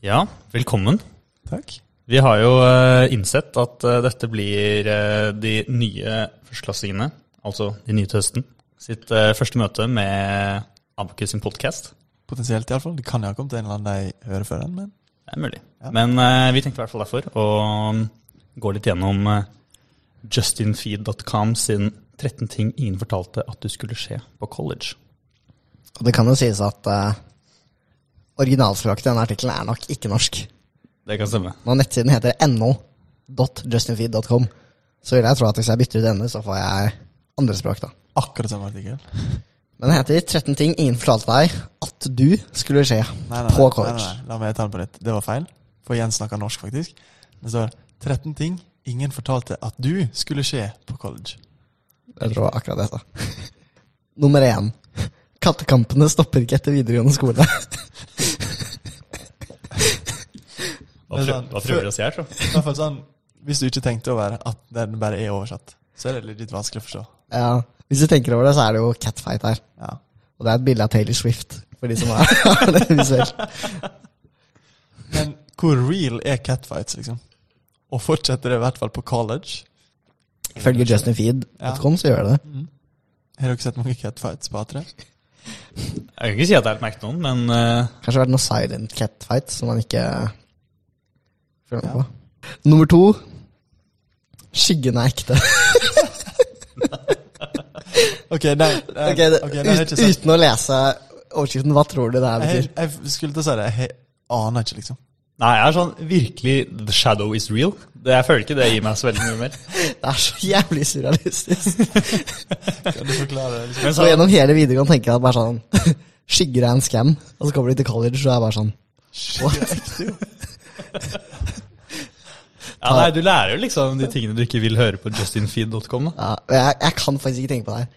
Ja, velkommen. Takk. Vi har jo eh, innsett at eh, dette blir eh, de nye førsteklassingene, altså de nye til høsten, sitt eh, første møte med Abacus sin podkast. Potensielt, iallfall. Det kan jo ha kommet en eller annen de hører før den, men Det er mulig. Ja. Men eh, vi tenkte i hvert fall derfor å mm, gå litt gjennom eh, justinfeed.com sin 13 ting ingen fortalte at du skulle skje på college. Og det kan jo sies at eh, originalspråket til denne artikkelen er nok ikke norsk. Det kan stemme. Når nettsiden heter no.justinfeed.com, så vil jeg tro at hvis jeg bytter ut denne, så får jeg andre språk, da. akkurat samme artikkel. Men det heter 13 ting ingen fortalte deg at du skulle skje Nei, nei, på nei, college. Nei, nei, La meg ta den på nytt. Det var feil. For Jens snakker norsk, faktisk. Det står 13 ting ingen fortalte at du skulle skje på college. Jeg tror det var akkurat det jeg sa. Nummer én. Kattekampene stopper ikke etter videregående skole. Hva, prø Men sånn, hva før- prøver du å si her, så? I hvert fall sånn, Hvis du ikke tenkte over at den bare er oversatt, så er det litt vanskelig å forstå. Ja, Hvis du tenker over det, så er det jo catfight her. Ja. Og det er et bilde av Taylor Swift, for de som har det visuelt. Men hvor real er catfights, liksom? Og fortsetter det i hvert fall på college? Ifølge justinfeed.com så gjør det det. Har dere sett mange catfights på A3? Jeg kan ikke si at jeg har merket noen, men eh, Kanskje vært noe silent catfight som man ikke følger med på. Nummer to. Skyggen er ekte. Ok, nei, nei, Ok, det, ok, nei, jeg har ut, ikke sett uten å lese overskriften, hva tror du det her Jeg, betyr? jeg skulle til å si det. Jeg aner ikke, liksom. Nei, jeg er sånn virkelig The shadow is real. Det, jeg føler ikke det gir meg så veldig mye mer. Det er så jævlig surrealistisk. Kan du forklare det? Liksom? Men Så så, gjennom hele videoen tenker jeg at bare sånn Skygger er en scam, og så kommer de til college, og er jeg bare sånn ja, nei, du lærer jo liksom de tingene du ikke vil høre på justinfeed.com. da. ja, og jeg, jeg kan faktisk ikke tenke på det her.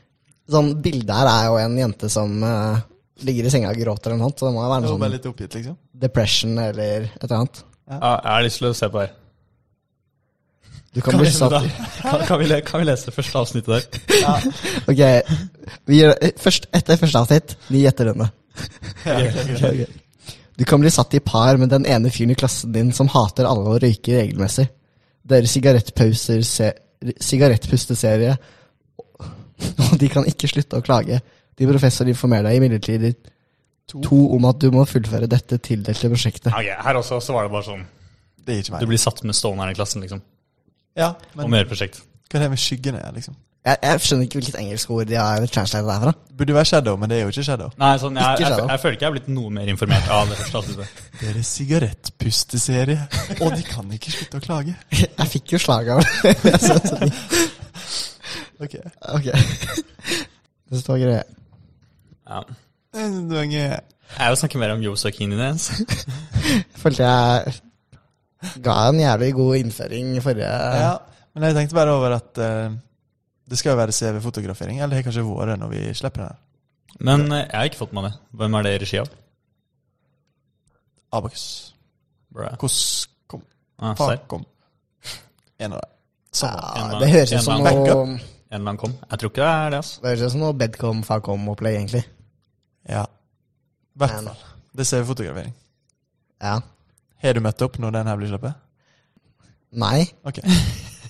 Sånn Bildet her er jo en jente som eh, ligger i senga og gråter eller noe sånt, så det må jo være Jeg var noe bare sånn litt oppgitt, liksom. depression eller et eller annet. Ja, jeg har lyst til å se på det her. Du kan Kan bli vi, satt da, kan, kan, vi, le- kan vi lese første avsnittet der? Ok, vi gjør, eh, først, etter første avsnitt, vi gjetter denne. Du kan bli satt i par med den ene fyren i klassen din som hater alle og røyker regelmessig. Deres sigarettpauser se, sigarettpusteserie, og de kan ikke slutte å klage. De professor informerer deg imidlertid to. to om at du må fullføre dette tildelte prosjektet. Ok, her også så var det bare sånn. Det er ikke meg. Du blir satt med stående her i klassen, liksom. Ja, Og men hva med prosjekt. er det med skyggene er, liksom? Jeg, jeg skjønner ikke hvilket engelsk ord de har translatet derfra. Det burde jo være shadow, men det er jo ikke shadow. Nei, sånn, jeg, Ikke jeg, shadow. jeg, føler ikke jeg er blitt noe mer informert av det første avsnittet. Deres sigarettpusteserie, og de kan ikke slutte å klage. Jeg fikk jo slag av det. Jeg synes det. Ok. Ok. Det står greit. Ja. Du er ikke- Jeg vil snakke mer om Yosa Kinines. følte jeg ga en jævlig god innføring i forrige Ja, men jeg tenkte bare over at eh, det skal jo være CV-fotografering, eller det har kanskje vært når vi slipper den her. Men eh, jeg har ikke fått med meg det. Hvem er det i regi av? Abacus. Bra. Koskom. Ah, serr. Fakom. En av dem. Ja, En- det høres ut en som backup. noe En eller annen kom. Jeg tror ikke det er det, altså. Det høres ut som noe Bedcom-Fagcom-opplegg, egentlig. Ja. I hvert fall. Det er CV-fotografering. Ja. Har du møtt opp når den her blir sluppet? Nei. Ok.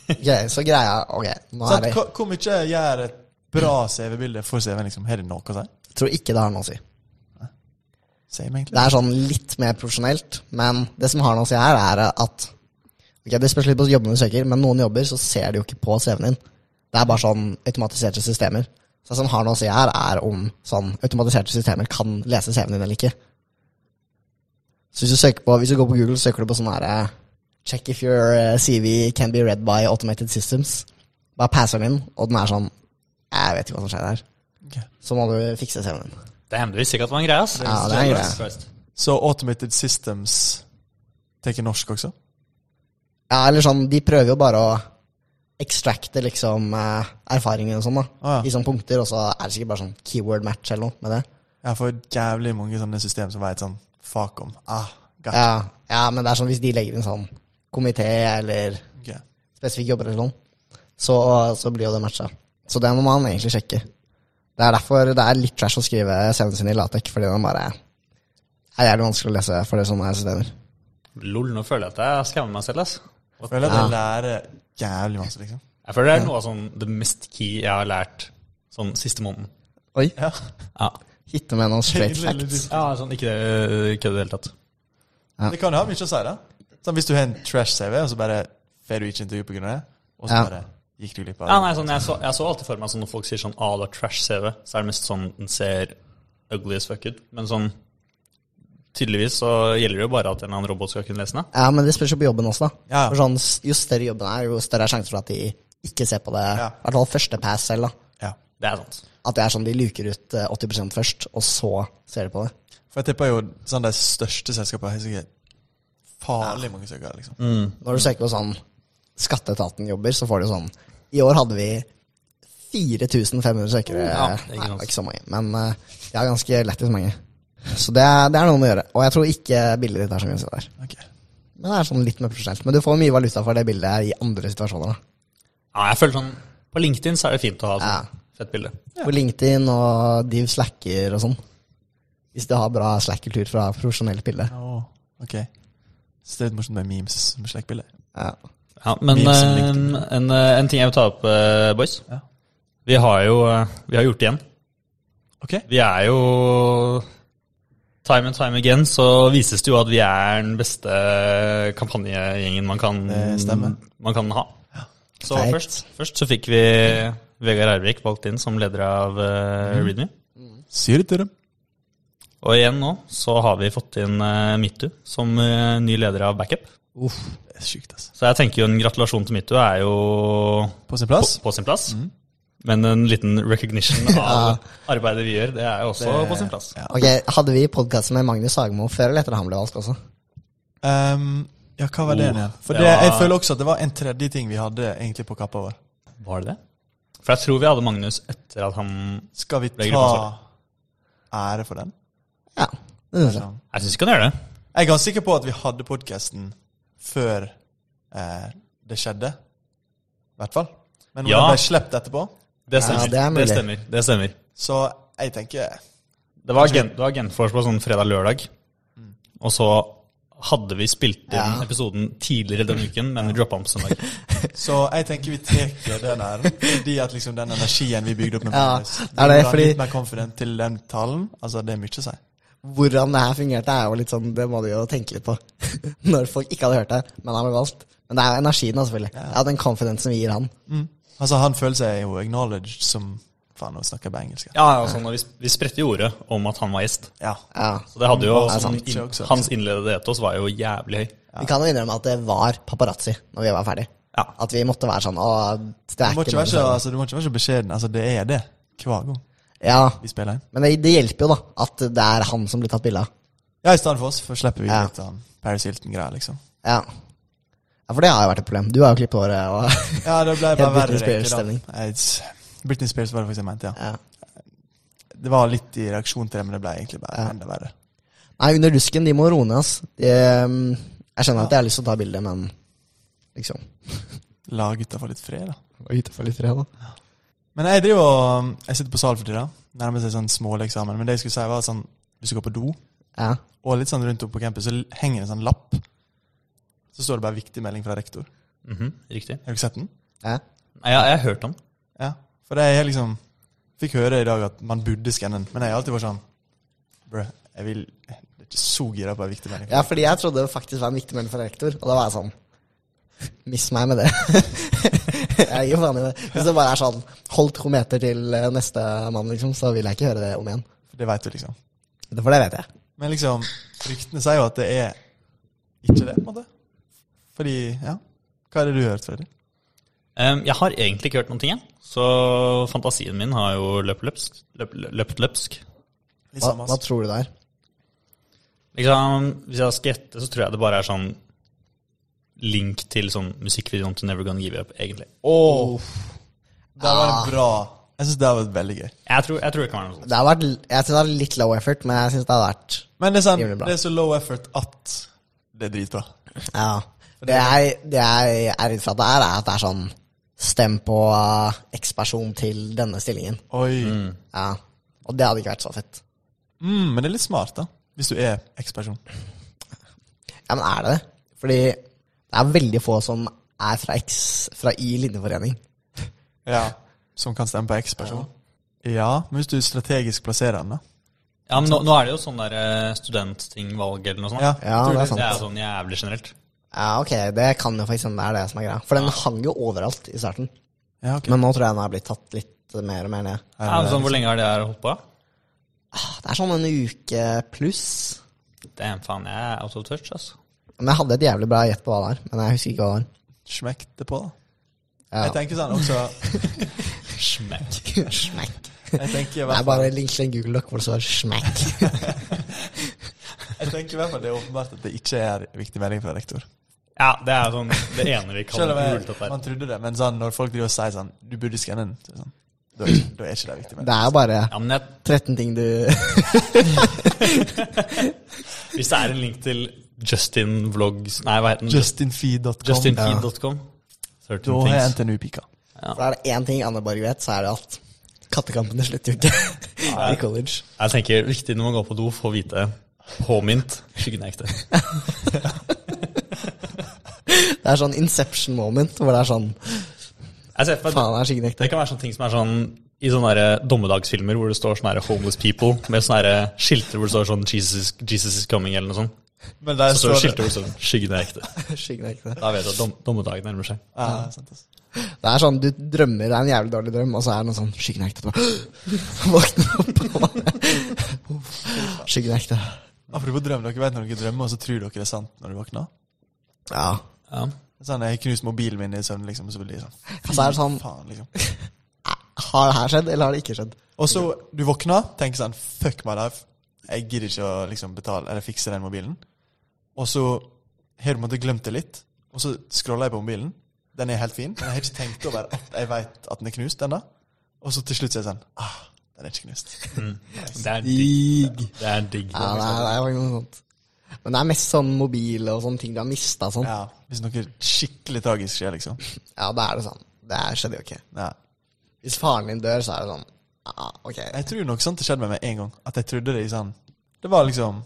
Ok, så greia Ok, nå Sånn, er det hvor- Hvor mye gjør et bra CV-bilde for CV-en? liksom? Har det noe å si? Jeg tror ikke det har noe å si. Same, egentlig. Det er sånn litt mer profesjonelt, men det som har noe å si her, er at Ok, Det spørs litt på jobbene du søker, men noen jobber så ser de jo ikke på CV-en din. Det er bare sånn automatiserte systemer. Så det som har noe å si her, er om sånn automatiserte systemer kan lese CV-en din eller ikke. Så hvis du, søker på, hvis du går på Google, søker du på sånn herre Check if your eh, CV can be read by automated systems. Bare passer den inn, og den er sånn Jeg vet ikke hva som skjer her. Ok. Så må du fikse CV-en din. Det hender visst sikkert var en greie, ass. Ja, det er en greie. Christ. Så Automated Systems tar norsk også? Ja, eller sånn, de prøver jo bare å extracte liksom eh, erfaringen og sånn, da. Ah, ja. I sånne punkter, og så er det sikkert bare sånn keyword match eller noe med det. Jeg får jævlig mange sånne system som vet sånn Fakom. Ah, gotcha. Ja, ja, men det er sånn hvis de legger inn sånn komité eller Ok. spesifikke jobber eller sånn, så, så blir jo det matcha. Så det må man egentlig sjekke. Det er derfor det er litt trash å skrive CV-en sin i Latek, fordi den bare er jævlig vanskelig å lese for det er sånne her systemer. Lol, nå føler jeg at jeg skammer meg selv, ass. Jeg Føler at jeg lærer jævlig masse, liksom. Jeg føler det er noe av sånn det mest key jeg har lært sånn siste måneden. Oi. Ja. Ja, Hitte med noen straight Veldig, veldig facts. dypt. ja sånn ikke det kødd i det hele tatt. Ja. Det kan jo ha mye å si, da. Sånn, hvis du har en trash-CV, og så bare får du ikke intervju pga. det, og så Ja. bare gikk du glipp av Ja, nei, sånn, jeg, så, jeg så alltid for meg sånn når folk sier sånn ah, det er trash-CV, så er det mest sånn den ser ugly as fuck ut. Men sånn tydeligvis så gjelder det jo bare at en eller annen robot skal kunne lese den. Ja, men det spørs jo på jobben også, da. Ja. For sånn, jo større jobben er, jo større er sjansen for at de ikke ser på det. I Ja. hvert fall første pass selv, da. Ja. Det er sant. At det er sånn de luker ut eh, 80 først, og så ser de på det. For jeg tipper jo sånn de største selskapene har sikkert farlig mange søkere, liksom. Mm. Når du søker på sånn Skatteetaten jobber, så får du sånn I år hadde vi 4500 søkere. Ja, det er ikke Nei, det sant. var ikke så mange, men eh, jeg har ganske lettest mange. Så det er, det er noe med å gjøre. Og jeg tror ikke bildet ditt er så mye å si der. Ok. Men det er sånn litt mer profesjonelt. Men du får mye valuta for det bildet her i andre situasjoner. da. Ja, jeg føler sånn På LinkedIn så er det fint å ha Ja. sånn fett bilde. På LinkedIn og Div Slacker og sånn. Hvis du har bra Slack-kultur fra profesjonelt bilde. Åh, ok. Så det er litt morsomt med memes med slektbilder. Ja. Ja, men Mye som eh, en, LinkedIn. eh, en ting jeg vil ta opp, eh, boys. Ja. Vi har jo eh, Vi har gjort det igjen. Ok. Vi er jo Time and time again så vises det jo at vi er den beste kampanjegjengen man kan, Det stemmer. man kan ha. Så Feit. først, først så fikk vi Vegard Ervik valgt inn som leder av eh, Mm. Readme. Sier det til dem. Og igjen nå så har vi fått inn eh, Mittu som eh, ny leder av Backup. Uff, det er sykt, altså. Så jeg tenker jo en gratulasjon til Mittu er jo På sin på, plass. på sin plass. Men en liten recognition av arbeidet vi gjør, det er jo også på sin plass. Ja. Ok, Hadde vi podkasten med Magnus Hagmo før eller etter at han ble valgt også? Ehm, ja, hva var det igjen? For det det, jeg var- føler også at det var en tredje ting vi hadde egentlig på kappa vår. Var det det? For jeg tror vi hadde Magnus etter at han Skal vi Legger ta du ære for den? Ja. Det synes jeg. Jeg syns ikke han gjør det. Jeg er ganske sikker på at vi hadde podkasten før eh, det skjedde. I hvert fall. Men Ja. ja. den ble sluppet etterpå, Det stemmer. det er det, mulig. stemmer. det stemmer. så jeg tenker Det var, gen, det var Genforce på sånn fredag-lørdag, og så hadde vi spilt inn Ja. episoden tidligere den uken, men vi droppa den på søndag. Så jeg tenker vi tar den her, fordi at liksom den energien vi bygde opp med Ja, Magnus er det vi var fordi- Litt mer confident til den talen. Altså, det er mye å si. Hvordan det her fungerte, er jo litt sånn, det må du jo tenke litt på. Når folk ikke hadde hørt det, men han ble valgt. Men det er jo energien, da, selvfølgelig. Ja, Den confidensen vi gir han. Altså, han føler seg jo acknowledged som Faen, nå snakker jeg bare engelsk. her. Ja, altså, når vi, vi spredte jo ordet om at han var gjest. Ja. Ja. Så det hadde jo, Det er sånn, sant. inn, Hans innledede etos var jo jævlig høy. Vi kan jo innrømme at det var paparazzi når vi var ferdig. Ja. At vi måtte være sånn Å, det Du, er må ikke ikke være så, noe altså, du må ikke være så beskjeden. Altså, det er det hver gang Ja, vi spiller inn. Men det, det hjelper jo, da. At det er han som blir tatt bilde av. Ja, i stedet for oss, for slipper vi Ja. litt sånn Paris Hilton-greier, liksom. Ja. ja. For det har jo vært et problem. Du har jo klippet håret og Ja, det ble bare Helt Britney verre. Spears-stemning. egentlig, da. Nei, s- Britney Spears var det faktisk jeg mente, ja. ja. Det var litt i reaksjon til det, men det ble egentlig bare enda verre. Nei, Under rusken, de må roe ned, ass. De, ehm, jeg skjønner at jeg har lyst til å ta bilde, men liksom La gutta få litt fred, da. litt fred, da. Men jeg driver og um, Jeg sitter på sal for tida. Nærmer seg sånn småleksamen. Men det jeg skulle si, var sånn Hvis du går på do, Ja. og litt sånn rundt om på campus, så henger det en sånn lapp. Så står det bare 'viktig melding fra rektor'. Mhm, Riktig. Har du ikke sett den? ja. Nei, jeg, jeg har hørt om. Ja. For det er liksom Fikk høre i dag at man burde skanne den, men jeg har alltid vært sånn Brø, jeg vil Jeg er ikke så gira på en viktig melding. Ja, fordi jeg trodde det faktisk var en viktig melding fra rektor, og da var jeg sånn Miss meg med det. jeg gir faen i det. Hvis det bare er sånn Hold to meter til eh, neste mann, liksom, så vil jeg ikke høre det om igjen. For det veit du, liksom. For det vet jeg. Men liksom, ryktene sier jo at det er ikke det, på en måte. Fordi, ja. Hva er det du har hørt, Freddy? Em, Ehm, jeg har egentlig ikke hørt noen ting, jeg. Så fantasien min har jo løpt løpsk. Løp, løpt løpsk. Litt Hva, samme, hva tror du det er? Liksom, hvis jeg skal gjette, så tror jeg det bare er sånn link til sånn musikkvideoen til Never Gonna Give Up, egentlig. Det var Ah. en bra. Jeg syns det var veldig gøy. Jeg tror, jeg tror det kan være noe sånt. Det har vært, l- jeg synes det har vært litt low effort, men jeg synes det har vært Men det er, sånn, Jævlig bra. det er så low effort at det er dritbra. Ja. Det jeg, det jeg er redd for at det er, er at det er sånn Stem på eh, X-person til denne stillingen. Oi. Ja. Og det hadde ikke vært så fett. Mm, men det er litt smart, da. Hvis du er X-person. Ja, men er det det? Fordi det er veldig få som er fra X, fra i linjeforening. Ja. Som kan stemme på X-person. Ja, men hvis du strategisk plasserer den, da. Ja, men nå, nå er det jo sånn der eh, studenttingvalg eller noe sånt. Ja, Ja, tror det er det. Det er sant. jo sånn jævlig generelt. Ja, ok, det kan jo faktisk hende det er det som er greia. For den hang jo overalt i starten. Ja, ok. Men nå tror jeg den har blitt tatt litt mer og mer ned. Ja, liksom- Ja, men sånn, hvor lenge har det her holdt på? Det er sånn en uke pluss. Damn, faen, jeg er out of touch, altså. Men jeg hadde et jævlig bra gjett på hva det er. Men jeg husker ikke hva det er. Smekk det på, da. Jeg Ja. tenker sånn også Smekk. Smekk. Jeg tenker i Det hvert fall, er bare link til en Google Doc hvor det står smekk. jeg tenker i hvert fall det er åpenbart at det ikke er viktig melding fra rektor. Ja, det er sånn det ene vi kan Selv om jeg, rulle opp der. man trodde det, men sånn, når folk driver og sier sånn Du burde skanne den. så er det Sånn, da, er ikke- da er ikke det viktig melding. Det er jo bare Ja, men jeg, 13 ting du hvis det er en link til Justin Vlogs Nei, hva heter den? Justinfeed.com. JustinFeed.com. Da 13 har jeg things. NTNU pika. For er det én ting Anne Borg vet, så er det at kattekampene slutter jo ikke i college. Jeg tenker viktig når man går på do, få vite påmint skyggenekte. Det er sånn inception moment hvor det er sånn Jeg ser for meg Faen, det er skikkelig Det ekte. kan være sånne ting som er sånn i sånne der dommedagsfilmer hvor det står sånne der homeless people med sånne der skilter hvor det står sånn Jesus, Jesus is coming eller noe sånt. Men der Så står det står det skilter hvor det står sånn, skyggen er ekte. Skikkelig ekte. Da vet du at dom, dommedagen nærmer seg. Ja, sant, altså. ass. Det er sånn du drømmer, det er en jævlig dårlig drøm, og så er det noe sånn Skyggen er ekte. Så Våkner du opp og Skyggen er ekte. Apropos drøm, dere vet når dere drømmer, og så tror dere det er sant når du våkner? Ja. Ja. Sånn, Jeg knust mobilen min i søvn, liksom, så blir det sånn Og så er det sånn Faen, liksom. Har det her skjedd, eller har det ikke skjedd? Og så du våkner, tenker sånn Fuck my life. Jeg gidder ikke å liksom betale eller fikse den mobilen. Og så har du på en måte glemt det litt, og så scroller jeg på mobilen. Den er helt fin, men jeg har ikke tenkt over at jeg vet at den er knust ennå. Og så til slutt så er jeg sånn Ah, den er ikke knust. Det er digg. Digg. Det er digg. Ja, det er, det er faktisk noe sånt. Men det er mest sånn mobile og sånne ting du har mista sånn. Ja, Hvis noe skikkelig tragisk skjer, liksom. Ja, da er det sånn. Det her skjedde jo ikke. Nei. Hvis faren din dør, så er det sånn Ja, ok. Jeg tror nok sånt det skjedde med meg en gang. At jeg trodde det i sånn Det var liksom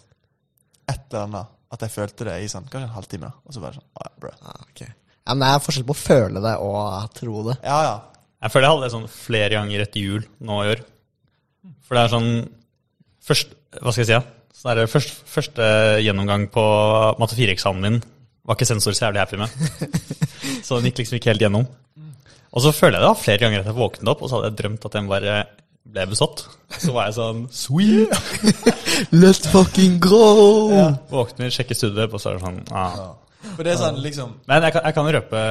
et eller annet. At jeg følte det i sånn kanskje en halvtime. da. Og så bare sånn ah, ja, bra. Ja, ok. ja, men det er forskjell på å føle det og tro det. Ja, ja. Jeg føler jeg hadde det sånn flere ganger etter jul nå i år. For det er sånn først, Hva skal jeg si? Ja? Sånn der, først, første gjennomgang på matte 4-eksamen min var ikke sensor så jævlig happy med. Så den gikk liksom ikke helt gjennom. Og så føler jeg det var flere ganger at jeg våknet opp, og så hadde jeg drømt at den bare ble besatt. Så var jeg sånn Sweet! Let's fucking go! Våkner, sjekker studiet, og så er det sånn ah. For det er sånn liksom Men jeg kan, jeg kan jo røpe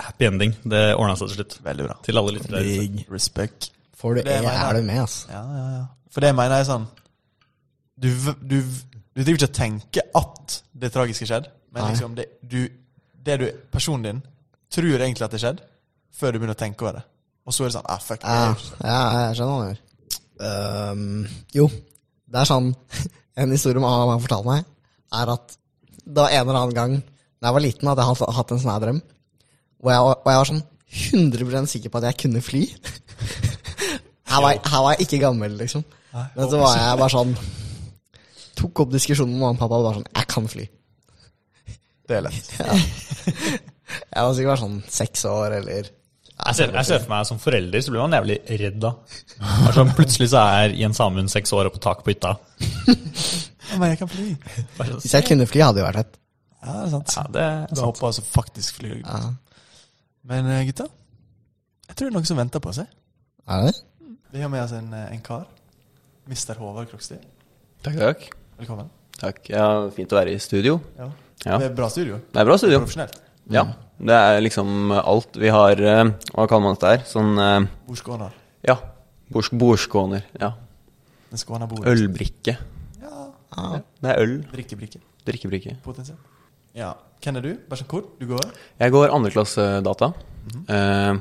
happy ending. Det ordna seg til slutt. Veldig bra. Til alle lyttere. der ute. sånn. Digg. Respect. Får du Det E, mener jeg. er du med, ass. Ja, ja, ja. For det mener jeg sånn Du, v- du, v- du driver ikke og tenker at det tragiske skjedde, men Nei. liksom det du, det du Personen din tror egentlig at det skjedde, før du begynner å tenke over det. Og så er det sånn ah, fuck. det er Ja, jo- ja jeg skjønner hva du gjør. Ehm, jo, det er sånn En historie mamma har fortalt meg, er at det var en eller annen gang da jeg var liten, at jeg hadde hatt en sånn her drøm. Og jeg, var- og jeg var sånn 100 sikker på at jeg kunne fly. Her var, jeg- her var jeg ikke gammel, liksom. Men så var jeg bare sånn Tok opp diskusjonen med mamma og pappa og bare sånn Jeg kan fly. Det er lett. Jeg var sikkert bare sånn seks år eller Jeg ser, jeg ser for meg som forelder, så blir man jævlig redd da. Det er Sånn, plutselig så er Jens Amund seks år oppe på taket på hytta. Ja, men jeg kan fly. Bare Hvis sånn, jeg kunne fly, hadde det vært fett. Ja, det er sant. Ja, det er Da sant. hopper jeg altså faktisk flyr. Men eh, gutta, jeg tror det er noen som venter på seg. Er det det? Vi har med oss en, eh, en kar. Mr. Håvard Krokstid. Takk, takk. Velkommen. Takk, ja, Fint å være i studio. Ja. Ja. Det er bra studio. Det er bra studio. Profesjonelt. Ja, Det er liksom alt. Vi har eh, Hva kaller man dette her? Sånn eh, Hvor skåner? Ja. Bords- Bordskåner. Ja. Den skåner bordet. Ølbrikke. Ja. Det er øl. Drikkebrikke. Drikkebrikke. Potensielt. Ja. Hvem er du? Bare sånn kort. Du går? Jeg går andreklasse data. eh,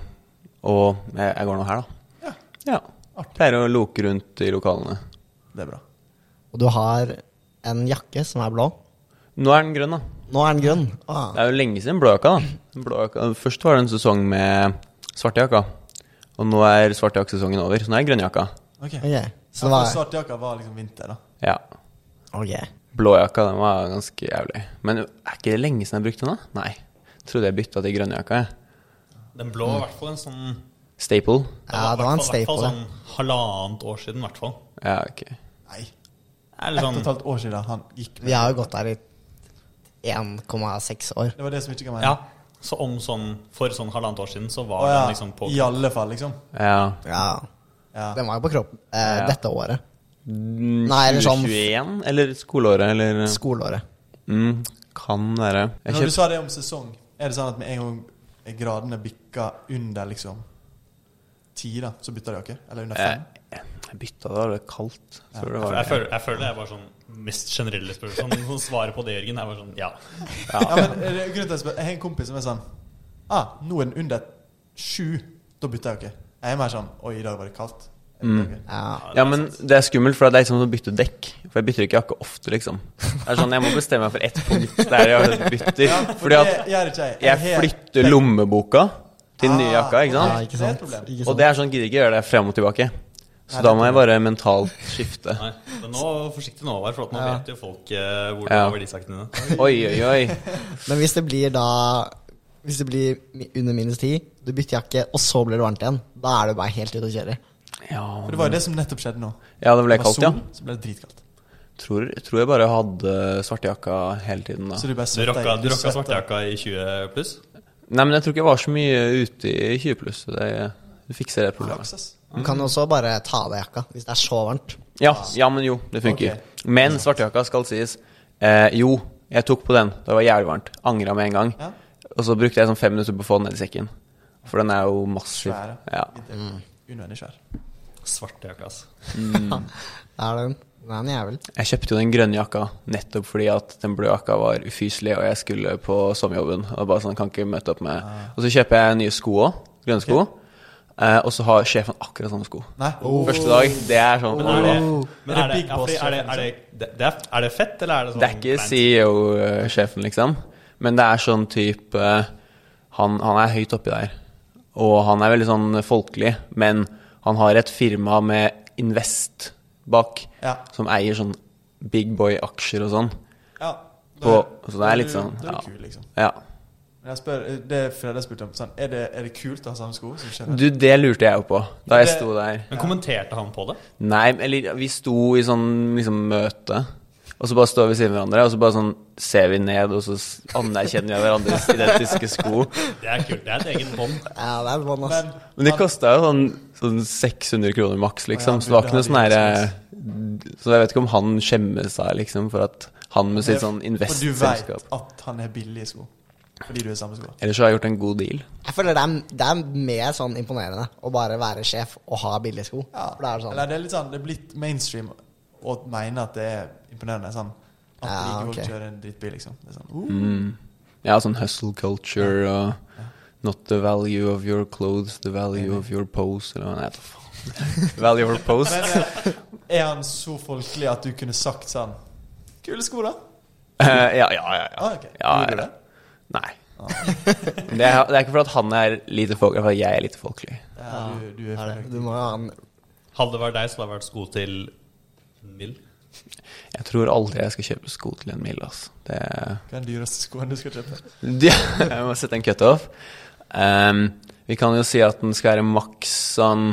og jeg, jeg går nå her, da. Ja. Ja. Artig. Pleier å loke rundt i lokalene. Det er bra. Og du har en jakke som er blå. Nå er den grønn, da. Nå er den grønn. Ah. Det er jo lenge siden blåjakka, da. Blåjakka. Først var det en sesong med svartejakka. Og nå er svartejakkesesongen over, så nå er det grønnjakka. Ok. Ok, Ja, så for det var Svartjakka var liksom vinter, da. Ja. Ok. Blåjakka, den var ganske jævlig. Men er ikke det lenge siden jeg brukte den, da? Nei. Trodde jeg bytta til grønnjakka, jeg. Den blå var i hvert fall en sånn Staple. Ja, det var en i hvert fall- staple. i hvert fall Sånn halvannet år siden, i hvert fall. Ja, ok. Nei. Det er Ett litt og et sånn halvt år siden han gikk med. Vi har jo gått der i 1,6 år. Det var det som ikke kan være Ja. Så om sånn For sånn halvannet år siden, så var Å, ja. den liksom på I alle fall, liksom. Ja. Ja. Ja. Den var jo på kroppen eh, Ja. dette året. Nei, eller sånn- 2021? Eller skoleåret, eller Skoleåret. mm, Kan være. Jeg Når du kjøpte sa det om sesong, er det sånn at med en gang gradene bikker under liksom ti, da, så bytter dere? Eller under fem? jeg, Eh, jeg bytta, det var litt kaldt. Jeg tror det Jeg, var jeg, føler, jeg føler jeg var sånn mest generelle spørsmål. Sånn, sånn svaret på det, Jørgen, er bare sånn ja. Ja, men er det grunnen til at jeg spør Jeg har en kompis som er sånn Ah, nå er den under sju. Da bytter jeg ikke. Jeg er mer sånn Oi, i dag var det kaldt. Jeg Mm. bytter ikke. Ja. Ja, men det er skummelt, for det er liksom som å bytte dekk. For jeg bytter ikke jakke ofte, liksom. Det er sånn, Jeg må bestemme meg for ett punkt der jeg bytter. For Fordi det at gjør ikke jeg. jeg har- flytter lommeboka til den nye jakka, ikke Ja, sant? ikke Det er et sant. problem. Ikke Og sant. det er sånn, gidder ikke gjøre det frem og tilbake. Nei, Så da det må jeg bare mentalt skifte. Nei, men nå forsiktig nå, Håvard, for at nå Ja. vet jo folk eh, hvor det Ja. er verdisakene dine. Oi, oi, oi. Men hvis det blir da Hvis det blir mi- under minus 10, du bytter jakke, og så blir det varmt igjen, da er du bare helt ute å kjøre. Ja, For det var jo det som nettopp skjedde nå. ja det ble var kaldt, ja. sol, Så ble det dritkaldt. Tror, tror jeg bare hadde svarte jakka hele tiden da. Så du bare Du svetter. rocka, du rocka svetter. svartejakka i 20 pluss? Nei, men jeg tror ikke jeg var så mye ute i 20 pluss. så Det, du fikser det problemet. Flaks, ass. Du kan jo også bare ta av deg jakka hvis det er så varmt. Ja, ja men jo, det funker. Ok. Men svartejakka skal sies. Eh, jo, jeg tok på den. Det var jævlig varmt. Angra med en gang. Ja. Og så brukte jeg sånn fem minutter på å få den ned i sekken. For den er jo massiv. Svær. Ja. Mm. Unødvendig svær. Svartejakka, altså. Da er den, den er en jævel. Jeg kjøpte jo den grønne jakka nettopp fordi at den blå jakka var ufyselig, og jeg skulle på sommerjobben. Og bare sånn, kan ikke møte opp med Ah. Og så kjøper jeg nye sko òg. Grønne sko. Eh, og så har sjefen akkurat samme sko. Nei. Første dag. Det er sånn Men er det, Oh. men er det, Big ja, fordi er det, er det, liksom. det er, er det fett, eller er det sånn Det er ikke kleint? CEO-sjefen, liksom. Men det er sånn type eh, han, han er høyt oppi der. Og han er veldig sånn folkelig, men han har et firma med Invest bak, Ja. som eier sånn big boy-aksjer og sånn. Ja. På- så det er litt sånn, Det er ja. kul, liksom. Ja. Men jeg spør, det Fredrik spurte om, sånn, er det, er det kult å ha samme sko? som skjer? Du, det lurte jeg jo på da jeg Det- sto der. Men kommenterte han på det? Nei, eller vi sto i sånn liksom møte, og så bare står vi ved siden av hverandre, og så bare sånn ser vi ned, og så s- anerkjenner vi hverandres identiske sko. Det er kult. Det er et eget bånd. Ja, det er vann, ass. Men Men det kosta jo sånn, sånn 600 kroner maks, liksom. Så det var ikke noe sånn herre Så jeg vet ikke om han skjemmer seg, liksom, for at han med sitt sånn for du vet investselskap at han er billige sko. Fordi du er samme sko. Ellers så har jeg gjort en god deal. Jeg føler det er, det er mer sånn imponerende å bare være sjef og ha billige sko. For det er sånn Eller det er litt sånn, det er blitt mainstream å mene at det er imponerende. Sånn, at Ja, rike folk ok. kjører en drittbil, liksom. Det er sånn, Mm. uh, Ja, sånn hustle culture og Not the value of your clothes, the value of your pose Eller hva nei, faen. Value of your pose. Men eh, er han så folkelig at du kunne sagt sånn Kule sko, da. Eh, ja, ja, ja. ja. Ah, ok. ja, Gjorde du ja. det? Ah. Nei. Det er, det er ikke fordi at han er lite folkelig, det er fordi jeg er lite folkelig. Ja, du, du er er det. for Du må jo ha en Hadde det vært deg, så hadde det vært sko til en mil. Jeg tror aldri jeg skal kjøpe sko til en mil, altså. Det Hva er den dyreste skoen du skal kjøpe? De, jeg må sette en cutoff. Um, vi kan jo si at den skal være maks sånn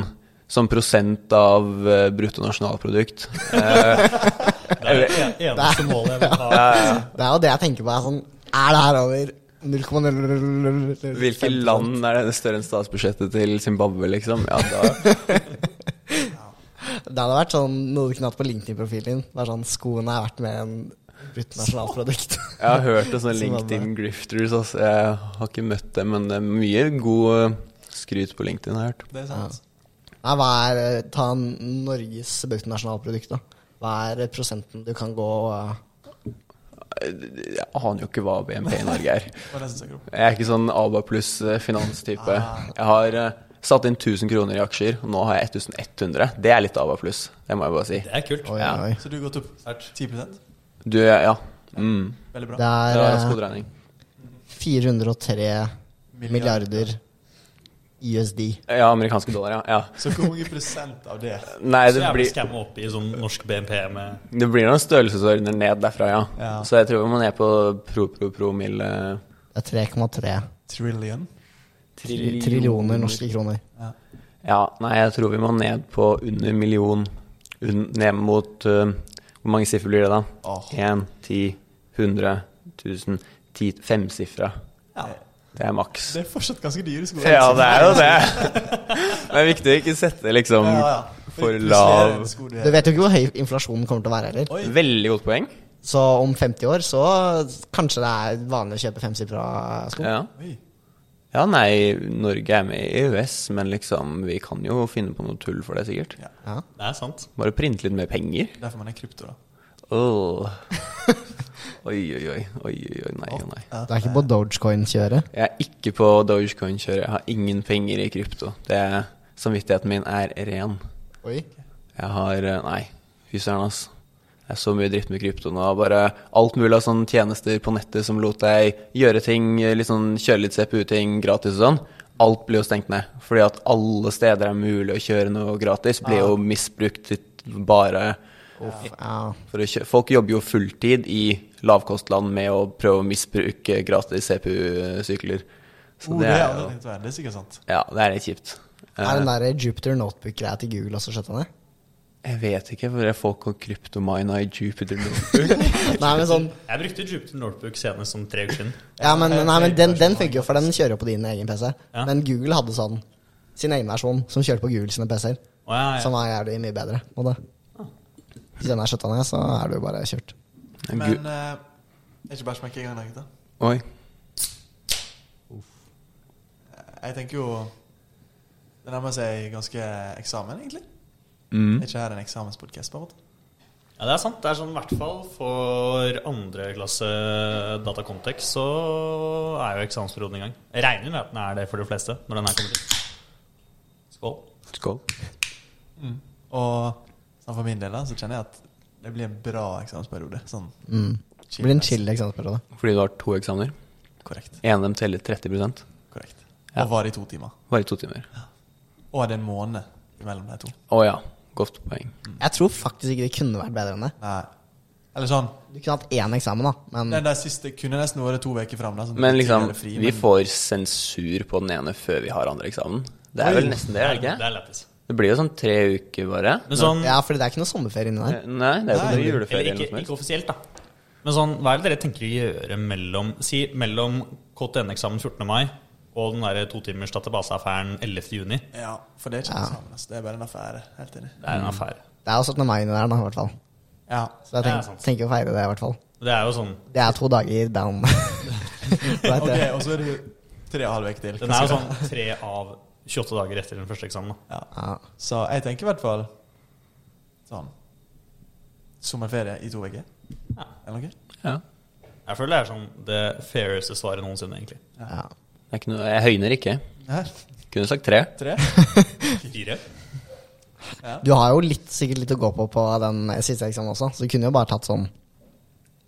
som prosent av eh, bruttonasjonalprodukt. Det er det eneste målet jeg vil ha. Det er jo det jeg tenker på. Er, sånn, er det her over 0,0 Hvilke land er det større enn statsbudsjettet til Zimbabwe, liksom? Ja, da, Det hadde vært sånn noe du kunne hatt på LinkedIn-profilen din. Bare sånn, Skoene er verdt mer enn bruttonasjonalprodukt. jeg har hørt om sånne Zimbabwe. LinkedIn grifters, altså. Jeg har ikke møtt dem, men det er mye god eh, skryt på LinkedIn, har jeg hørt. Det er sant. Nei, hva er eh, Ta Norges bruttonasjonalprodukt, da. Hva er prosenten du kan gå eh, Jeg aner jo ikke hva BNP i Norge er. Det var det som stakk opp. Jeg er ikke sånn ABA pluss eh, finanstype. Jeg har eh, satt inn 1000 kroner i aksjer, og nå har jeg 1100. Det er litt ABA pluss, det må jeg bare si. Det er kult. Oi, Ja. oi. Så du har gått opp 10 Du, ja. Mm. Veldig bra. Det Det er var eh, skoderegning. 403 milliarder USD. Ja, amerikanske dollar, ja. ja. Så hvor mange prosent av det? Nei, Så det jeg blir blir, skamma opp i sånn norsk BNP med det blir noen størrelsesordener ned derfra, ja. Ja. Så jeg tror vi må ned på pro-pro-promille Det er 3,3 Trillion? trillioner norske kroner. Ja, nei, jeg tror vi må ned på under million. Un, ned mot eh, Hvor mange siffer blir det, da? Åh. Én, ti, hundre, tusen, ti Femsifra. Ja. Det er maks. Det er fortsatt ganske dyre sko. Ja, det er jo det. Det er viktig å ikke sette liksom Ja, ja. for Plutselig er det en lav sko Du vet jo ikke hvor høy inflasjonen kommer til å være heller. Oi. Veldig godt poeng. Så om 50 år så kanskje det er vanlig å kjøpe femsifra sko. Ja. Oi. ja, nei, Norge er med i EØS, men liksom, vi kan jo finne på noe tull for det, sikkert. Ja. Ja. Det er sant. Bare printe litt mer penger. Derfor man er krypto, da. Åh. Oi, oi, oi. Oi, oi, oi, nei, nei. Du er ikke på dogecoin-kjøret? Jeg er ikke på Dogecoin-kjøret. Jeg har ingen penger i krypto. Det er, samvittigheten min er ren. Oi. Jeg har eh, Nei, fy søren, ass. Det er så mye dritt med krypto nå. Bare alt mulig av sånne tjenester på nettet som lot deg gjøre ting, eh, litt sånn kjøre litt CPU-ting gratis og sånn. Alt blir jo stengt ned. Fordi at alle steder er mulig å kjøre noe gratis, blir jo misbrukt til bare Uff, ja. for å kjø Folk jobber jo fulltid i lavkostland med å prøve å misbruke gratis CPU-sykler. Så Oh, det er aldri jo tenkt å være. Det er sikkert sant. Ja, det er litt kjipt. Er Eh, den der Jupiter Notebook-greia til Google også skjøtta ned? Jeg vet ikke hvor jeg folk har kryptomina i Jupiter Notebook. Nei, men sånn Jeg brukte Jupiter Notebook senest som tre uker siden. Ja, men, nei, men den, den funker jo, for den kjører jo på din egen PC. Ja. Men Google hadde sånn sin egen versjon som kjørte på Google sine PC-er. Å, ja, ja. Som var jævlig mye bedre. På det. Hvis den er skjøtta ned, så er du jo bare kjørt. Men eh, er ikke bæsj i gang, da, gutta? Gu- Oi. Jeg tenker jo Det nærmer seg ganske eksamen, egentlig. Mm. Er ikke her en eksamenspodkast, på en måte? Ja, det er sant. Det er sånn i hvert fall for andre klasse datakontekst så er jo eksamensperioden i gang. Jeg regner med at den er det for de fleste når den her kommer ut. Skål. Skål. Og sånn for min del da, så kjenner jeg at det blir en bra eksamensperiode. Sånn Mm. Det blir en chill eksamensperiode. Fordi du har to eksamener. Korrekt. En av dem teller 30 korrekt. Ja. Og var i to timer. Bare i to timer. Og det er en måned mellom de to. Å ja. Godt poeng. Jeg tror faktisk ikke det kunne vært bedre enn det. Nei. Eller sånn Mm. Du kunne hatt én eksamen, da, men Den der siste kunne nesten vært to uker fram. Da, sånn Men liksom, tidligere fri, vi men- får sensur på den ene før vi har andre eksamen. Det er vel nesten det, er det Det ikke? er lættis. Det blir jo sånn tre uker bare. Eh, Men sånn Ja, fordi det er ikke noe sommerferie inni der. Nei, det er jo ikke noe Eller juleferie ikke, eller noe ikke som helst. offisielt, da. Men sånn, hva er det dere tenker å gjøre mellom Si mellom KTN-eksamen 14. mai og den derre totimers databaseaffæren 11. juni. Ja, for det er ikke Ja. eksamen. Altså. Det er bare en affære. Helt enig. Det er Mm. en affære. Det er jo 17. mai inni der, da, i hvert fall. Ja. Så jeg Det er tenker, sant. tenker å feire det, i hvert fall. Det er jo sånn Det er to dager down. Det er Ok, det. og så er det jo tre og en halv uke til. Den er jo sånn tre av 28 dager etter den første eksamen. da. Ja. Ja. Så jeg tenker i hvert fall sånn Sommerferie i to uker. Ja. Eller noe? Ja. Jeg føler det er sånn det faireste svaret noensinne, egentlig. Ja. Det er ikke noe, jeg høyner ikke. Her. Kunne sagt tre. Tre? Fire. Du har jo litt, sikkert litt å gå på på den siste eksamen også, så du kunne jo bare tatt sånn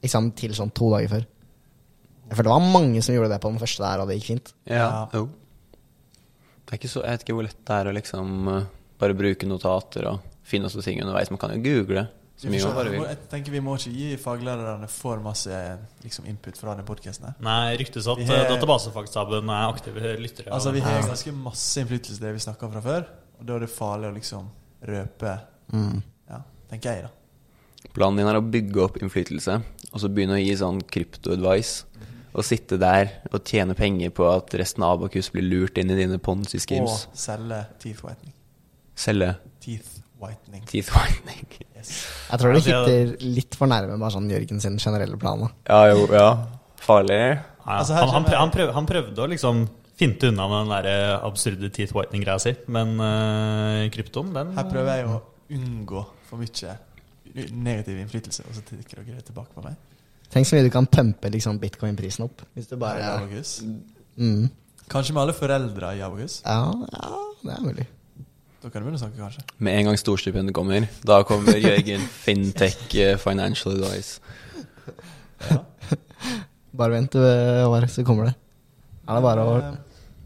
eksamen til sånn to dager før. For det var mange som gjorde det på den første der, og det gikk fint. Ja. Ja. Jo. Det er ikke så, jeg vet ikke hvor lett det er å liksom eh, bare bruke notater og finne også ting underveis. Man kan jo google så Vi mye man får se. bare Vi vil. må- Jeg tenker Vi må ikke gi faglærerne for masse liksom, input fra denne podkasten. her Nei, ryktes at Vi eh, har- databasefagstaben er aktive lyttere. Altså Vi vi... har ganske masse innflytelse til det vi snakker om fra før, og da er det farlig å liksom røpe Mm. Ja, tenker jeg, da. Planen din er å bygge opp innflytelse, og så begynne å gi sånn krypto-advice. Og sitte der og tjene penger på at resten av Abakus blir lurt inn i dine ponzi-schemes. Og selge teeth whitening. Selge Teeth whitening. teeth whitening. Yes. Jeg tror det Ja, det hitter litt for nærme bare sånn Jørgen sin generelle plan. da. Ja, jo, ja. Farlig. ja, Altså, her han, han, kommer- prøv, han, prøv, han prøvde å liksom finte unna med den der eh, absurde teeth whitening-greia si, men eh, kryptoen, den Her prøver jeg å unngå for mye negativ innflytelse, og så tikker dere tilbake på meg. Tenk så mye du kan pumpe liksom, bitcoin-prisen opp. Hvis du Her i bare Abogus. mm. Kanskje med alle foreldre i Abogus. ja, ja, det er mulig. Da kan du begynne å snakke, kanskje. Med en gang storstipendet kommer, da kommer Jørgen Fintech eh, Financial Advice. Bare vent, øh, Håvard, så kommer det. Er det bare å Eh,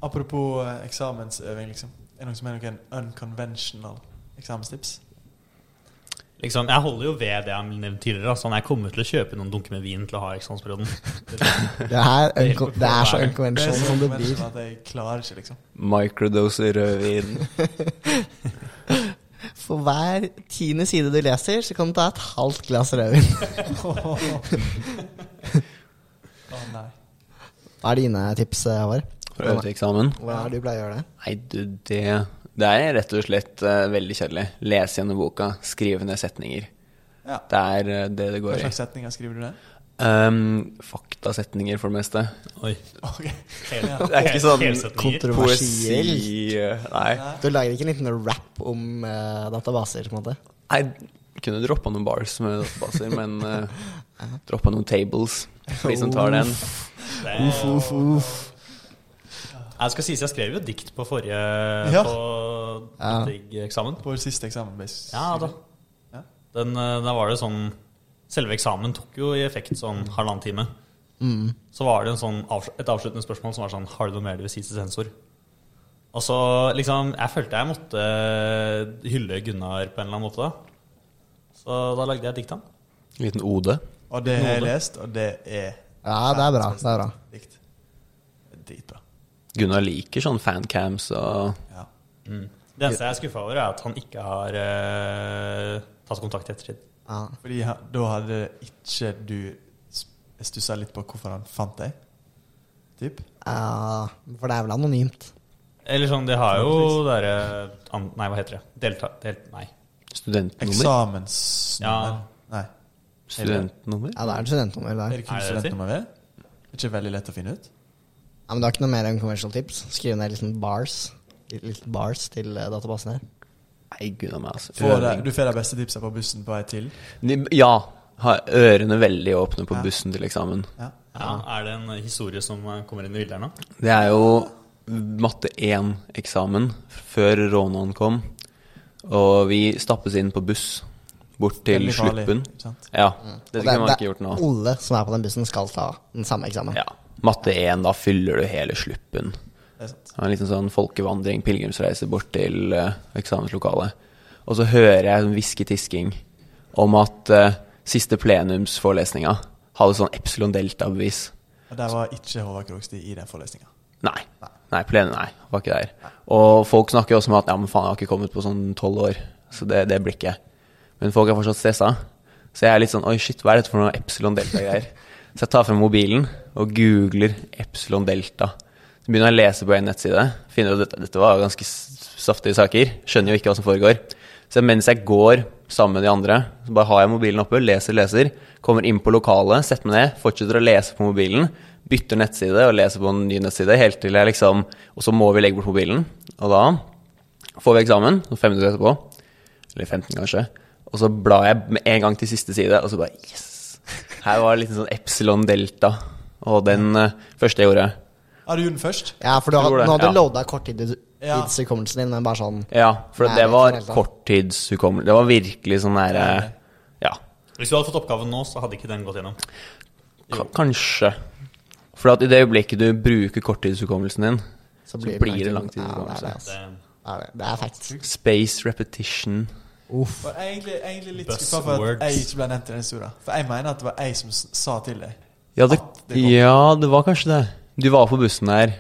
Apropos eh, eksamensøving, liksom. Er det noen som har noen unconventional eksamenstips? Liksom, jeg holder jo ved det jeg har nevnt tidligere. da. Sånn, jeg kommer til å kjøpe noen dunker med vin til å ha i eksamensperioden. Det er, unco- helt det er forferdelig. så Det er unconventional så som det blir. unconventional at jeg klarer ikke, liksom. Microdose rødvin. For hver tiende side du leser, så kan du ta et halvt glass rødvin. Å nei. Hva er dine tips, Håvard? For å øve til eksamen. Hvordan er det du pleier å gjøre det? Nei, du, det Det er rett og slett eh, veldig kjedelig. Lese gjennom boka, skrive ned setninger. Ja. Det er eh, det det Hva går i. slags setninger skriver du ned? Um, faktasetninger, for det meste. Oi. Ok. Hele, Ja. Det er ikke sånn helsetninger. Kontroversielt. Poesi eh, Nei. Nei. Du lager ikke en liten rap om eh, databaser? på en måte Nei, kunne droppa noen bars med databaser, men uh, droppa noen tables. For de som tar den. Det er- Uff, Eh, uff, uff. Jeg skal sies jeg skrev jo dikt på forrige Ja. på Ja. digg-eksamen. På siste eksamen, basically. Ja da. Ja. Den, eh, da var det sånn Selve eksamen tok jo i effekt sånn halvannen time. Mm. Så var det en sånn, avs- et avsluttende spørsmål som var sånn Har du noe mer du vil si til sensor? Og så liksom Jeg følte jeg måtte eh, hylle Gunnar på en eller annen måte, da. Så da lagde jeg et dikt til ham. Liten ode. Og det har jeg lest, og det er Ja, det er bra. det er bra Dikt. Det er Dritbra. Gunnar liker sånn fancams og Ja. Det eneste jeg er skuffa over, er at han ikke har eh, tatt kontakt i ettertid. ja. Fordi ha- da hadde ikke du stussa litt på hvorfor han fant deg? Typ? Ja, For det er vel anonymt? Eller sånn, de har jo derre an- Nei, hva heter det? Delta... Del, nei. studentnummer. Eksamens... Ja. Nei. Studentnummer. Ja, det er et studentnummer Er der. det kun Er det det studentnummer ved? Ikke veldig lett å finne ut? Ja, men du har ikke noe mer enn commercial tips? Skriv ned liten bars Liten bars til eh, databasen her. Nei, Gunnar meg, altså. Får Øring. det, du får de beste tipsa på bussen på vei til? De, ja. Ha ørene veldig åpne på Ja. bussen til eksamen. Ja. Ja, er det en historie som eh, kommer inn i bildet her nå? Det er jo matte 1-eksamen før råneren kom. Og vi stappes inn på buss bort til Veldig farlig, Sluppen. ikke sant? Ja, Mm. Og dette det- kunne man det- ikke gjort nå. Alle som er på den bussen, skal ta den samme eksamen. Ja. Matte 1, da fyller du hele Sluppen. Det er sant. Det er En liten sånn folkevandring, pilegrimsreise bort til eh, eksamenslokalet. Og så hører jeg sånn hvisketisking om at eh, siste plenumsforelesninga hadde sånn epsilon delta-bevis. Og der var ikke Håvard Krogstid i den forelesninga. Nei. Nei, plen, nei, var ikke der. Og folk snakker jo også om at ja, men faen, jeg har ikke kommet på sånn tolv år. Så det, det blir ikke. Men folk er fortsatt stressa. Så jeg er litt sånn oi, shit, hva er dette for noe epsilon delta-greier? så jeg tar frem mobilen og googler epsilon delta. Så begynner jeg å lese på en nettside. Finner ut at dette, dette var ganske s- saftige saker. Skjønner jo ikke hva som foregår. Så mens jeg går sammen med de andre, så bare har jeg mobilen oppe, leser, leser. Kommer inn på lokalet, setter meg ned, fortsetter å lese på mobilen. Bytter nettside og leser på en ny nettside helt til jeg liksom Og så må vi legge bort mobilen. Og da får vi eksamen, og fem minutter etterpå. Eller 15, kanskje. Og så blar jeg med en gang til siste side, og så bare yes! Her var det litt sånn epsilon delta. Og den eh, første jeg gjorde Ja, du gjorde den først? Ja, for du har, Jeg tror det, nå hadde du ja. loada Ja. korttidshukommelsen din, men bare sånn Ja, for Nei, det epsilon var delta. korttidshukommelse. Det var virkelig sånn der eh, Ja, Hvis du hadde fått oppgaven nå, så hadde ikke den gått gjennom. ka- kanskje. For at i det øyeblikket du bruker korttidshukommelsen din, så blir, det Ja, det er det, langtidshukommelse. Det, altså. Det er, det. Det er facts. Space repetition. Uff. Og egentlig, egentlig litt skuffa for at Buzzwords. jeg ikke ble nevnt i den historien. For jeg mener at det var jeg som s- sa til deg. Ja det, Ah, det kom. ja, det var kanskje det. Du var på bussen der.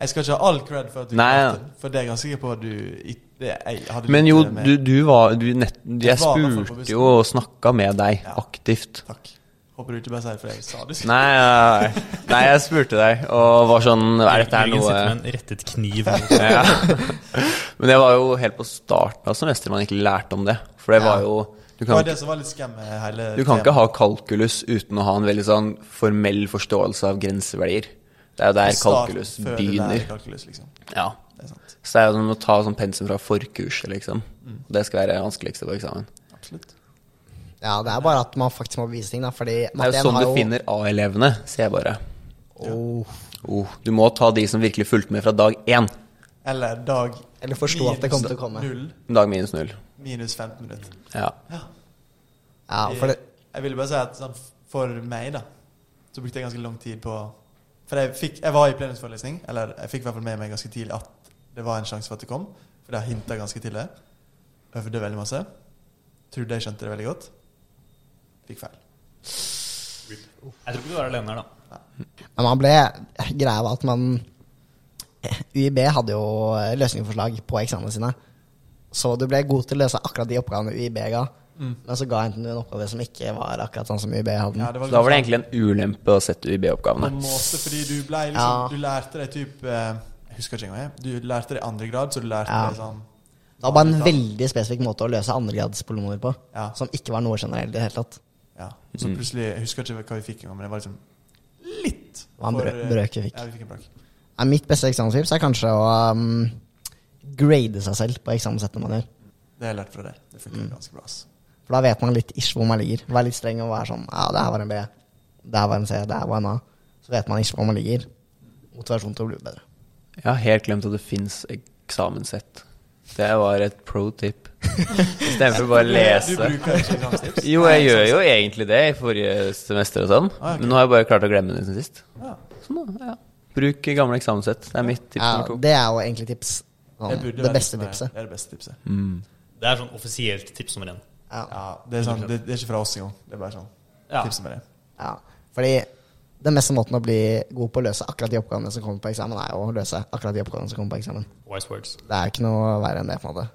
Jeg skal ikke ha all cred for at du Nei, klarte ja. den, for det er jeg ganske sikker på at du i- det, jeg hadde Men litt jo, med- du, du var du nett, var Jeg i hvert fall på spurte bussen. jo og snakka med deg Ja. aktivt. Takk. Håper du ikke bare sier det, for jeg sa det. Nei, nei, nei. nei, jeg spurte deg og var sånn Er dette her Jørgen noe sitter med en rettet kniv. ja. Men det var jo helt på starten av semesteret man ikke lærte om det. For det var jo Du Det var kan, det som var litt skam med hele du kan ikke temaet. ha kalkulus uten å ha en veldig sånn formell forståelse av grenseverdier. Det er jo der Start kalkulus før det der begynner. Kalkulus, liksom. Ja. Det er sant. Så det er jo som å ta sånn pensum fra forkurset, liksom. Mm. Det skal være det vanskeligste på eksamen. Absolutt. Ja, det er bare at man faktisk må bevise ting, da, fordi Det er jo sånn du finner A-elevene, ser jeg bare. Åh. Oh, du må ta de som virkelig fulgte med fra dag én. Eller dag Eller forstå at det kom til å komme. Null Dag minus null. minus 15 minutter. Ja. Ja. Ja, for det, Jeg ville bare si at sånn, for meg, da, så brukte jeg ganske lang tid på å For jeg, fikk, jeg var i plenumsforelesning, eller jeg fikk i hvert fall med meg ganske tidlig at det var en sjanse for at det kom. For det hinta ganske tidlig. Øvde veldig masse. Trodde jeg skjønte det veldig godt. Fikk feil. Jeg tror ikke du er alene her, da. Men man ble greia var at man UiB hadde jo løsningsforslag på eksamene sine. Så du ble god til å løse akkurat de oppgavene UiB ga. Men så ga enten du en oppgave som ikke var akkurat sånn som UiB hadde den. Mm. Ja, det Så da var det egentlig en ulempe å sette på UiB-oppgavene. en måte fordi du ble liksom Ja. Du lærte deg typ eh, Jeg husker ikke engang. jeg. Du lærte det i andre grad, så du lærte Ja. det sånn Det var bare en veldig spesifikk måte å løse andregradspolymoner på. Ja. Som ikke var noe generelt i det hele tatt. Ja. Så Mm. plutselig Jeg husker ikke hva vi fikk engang, men det var liksom litt Det var en for, brø- eh, brøk vi fikk. Ja, vi fikk en brøk. Nei, mitt beste eksamenstips er kanskje å um, grade seg selv på eksamenssettene man gjør. Det har jeg lært fra deg. Det funker Mm. ganske bra. ass. For da vet man litt ish hvor man ligger. Være litt streng og være sånn Ja, det her var en B. Det her var en C. Det her var en A. Så vet man ish hvor man ligger. Motivasjon til å bli bedre. Jeg har helt glemt at det fins eksamenssett. Det var et pro tip. Istedenfor bare å Du lese. bruker ikke eksamstips? Jo, jeg gjør jo egentlig det i forrige semester og sånn. Ah, ok. Men nå har jeg bare klart å glemme det siden sist. Ja. Sånn da, ja. Bruk gamle eksamenssett. Det er mitt tips Ja, nummer to. det er jo egentlig tips. Sånn, Jeg burde det være beste litt mer- tipset. Det er Mm. det beste tipset. Det er sånn offisielt tips nummer én. Ja. Ja, det, er sånn, det, det er ikke fra oss engang. Det er bare sånn. Ja. Tipset med det. ja. Fordi den beste måten å bli god på å løse akkurat de oppgavene som kommer på eksamen, er jo å løse akkurat de oppgavene som kommer på eksamen. Wise words. Det er jo ikke noe verre enn det, på en måte.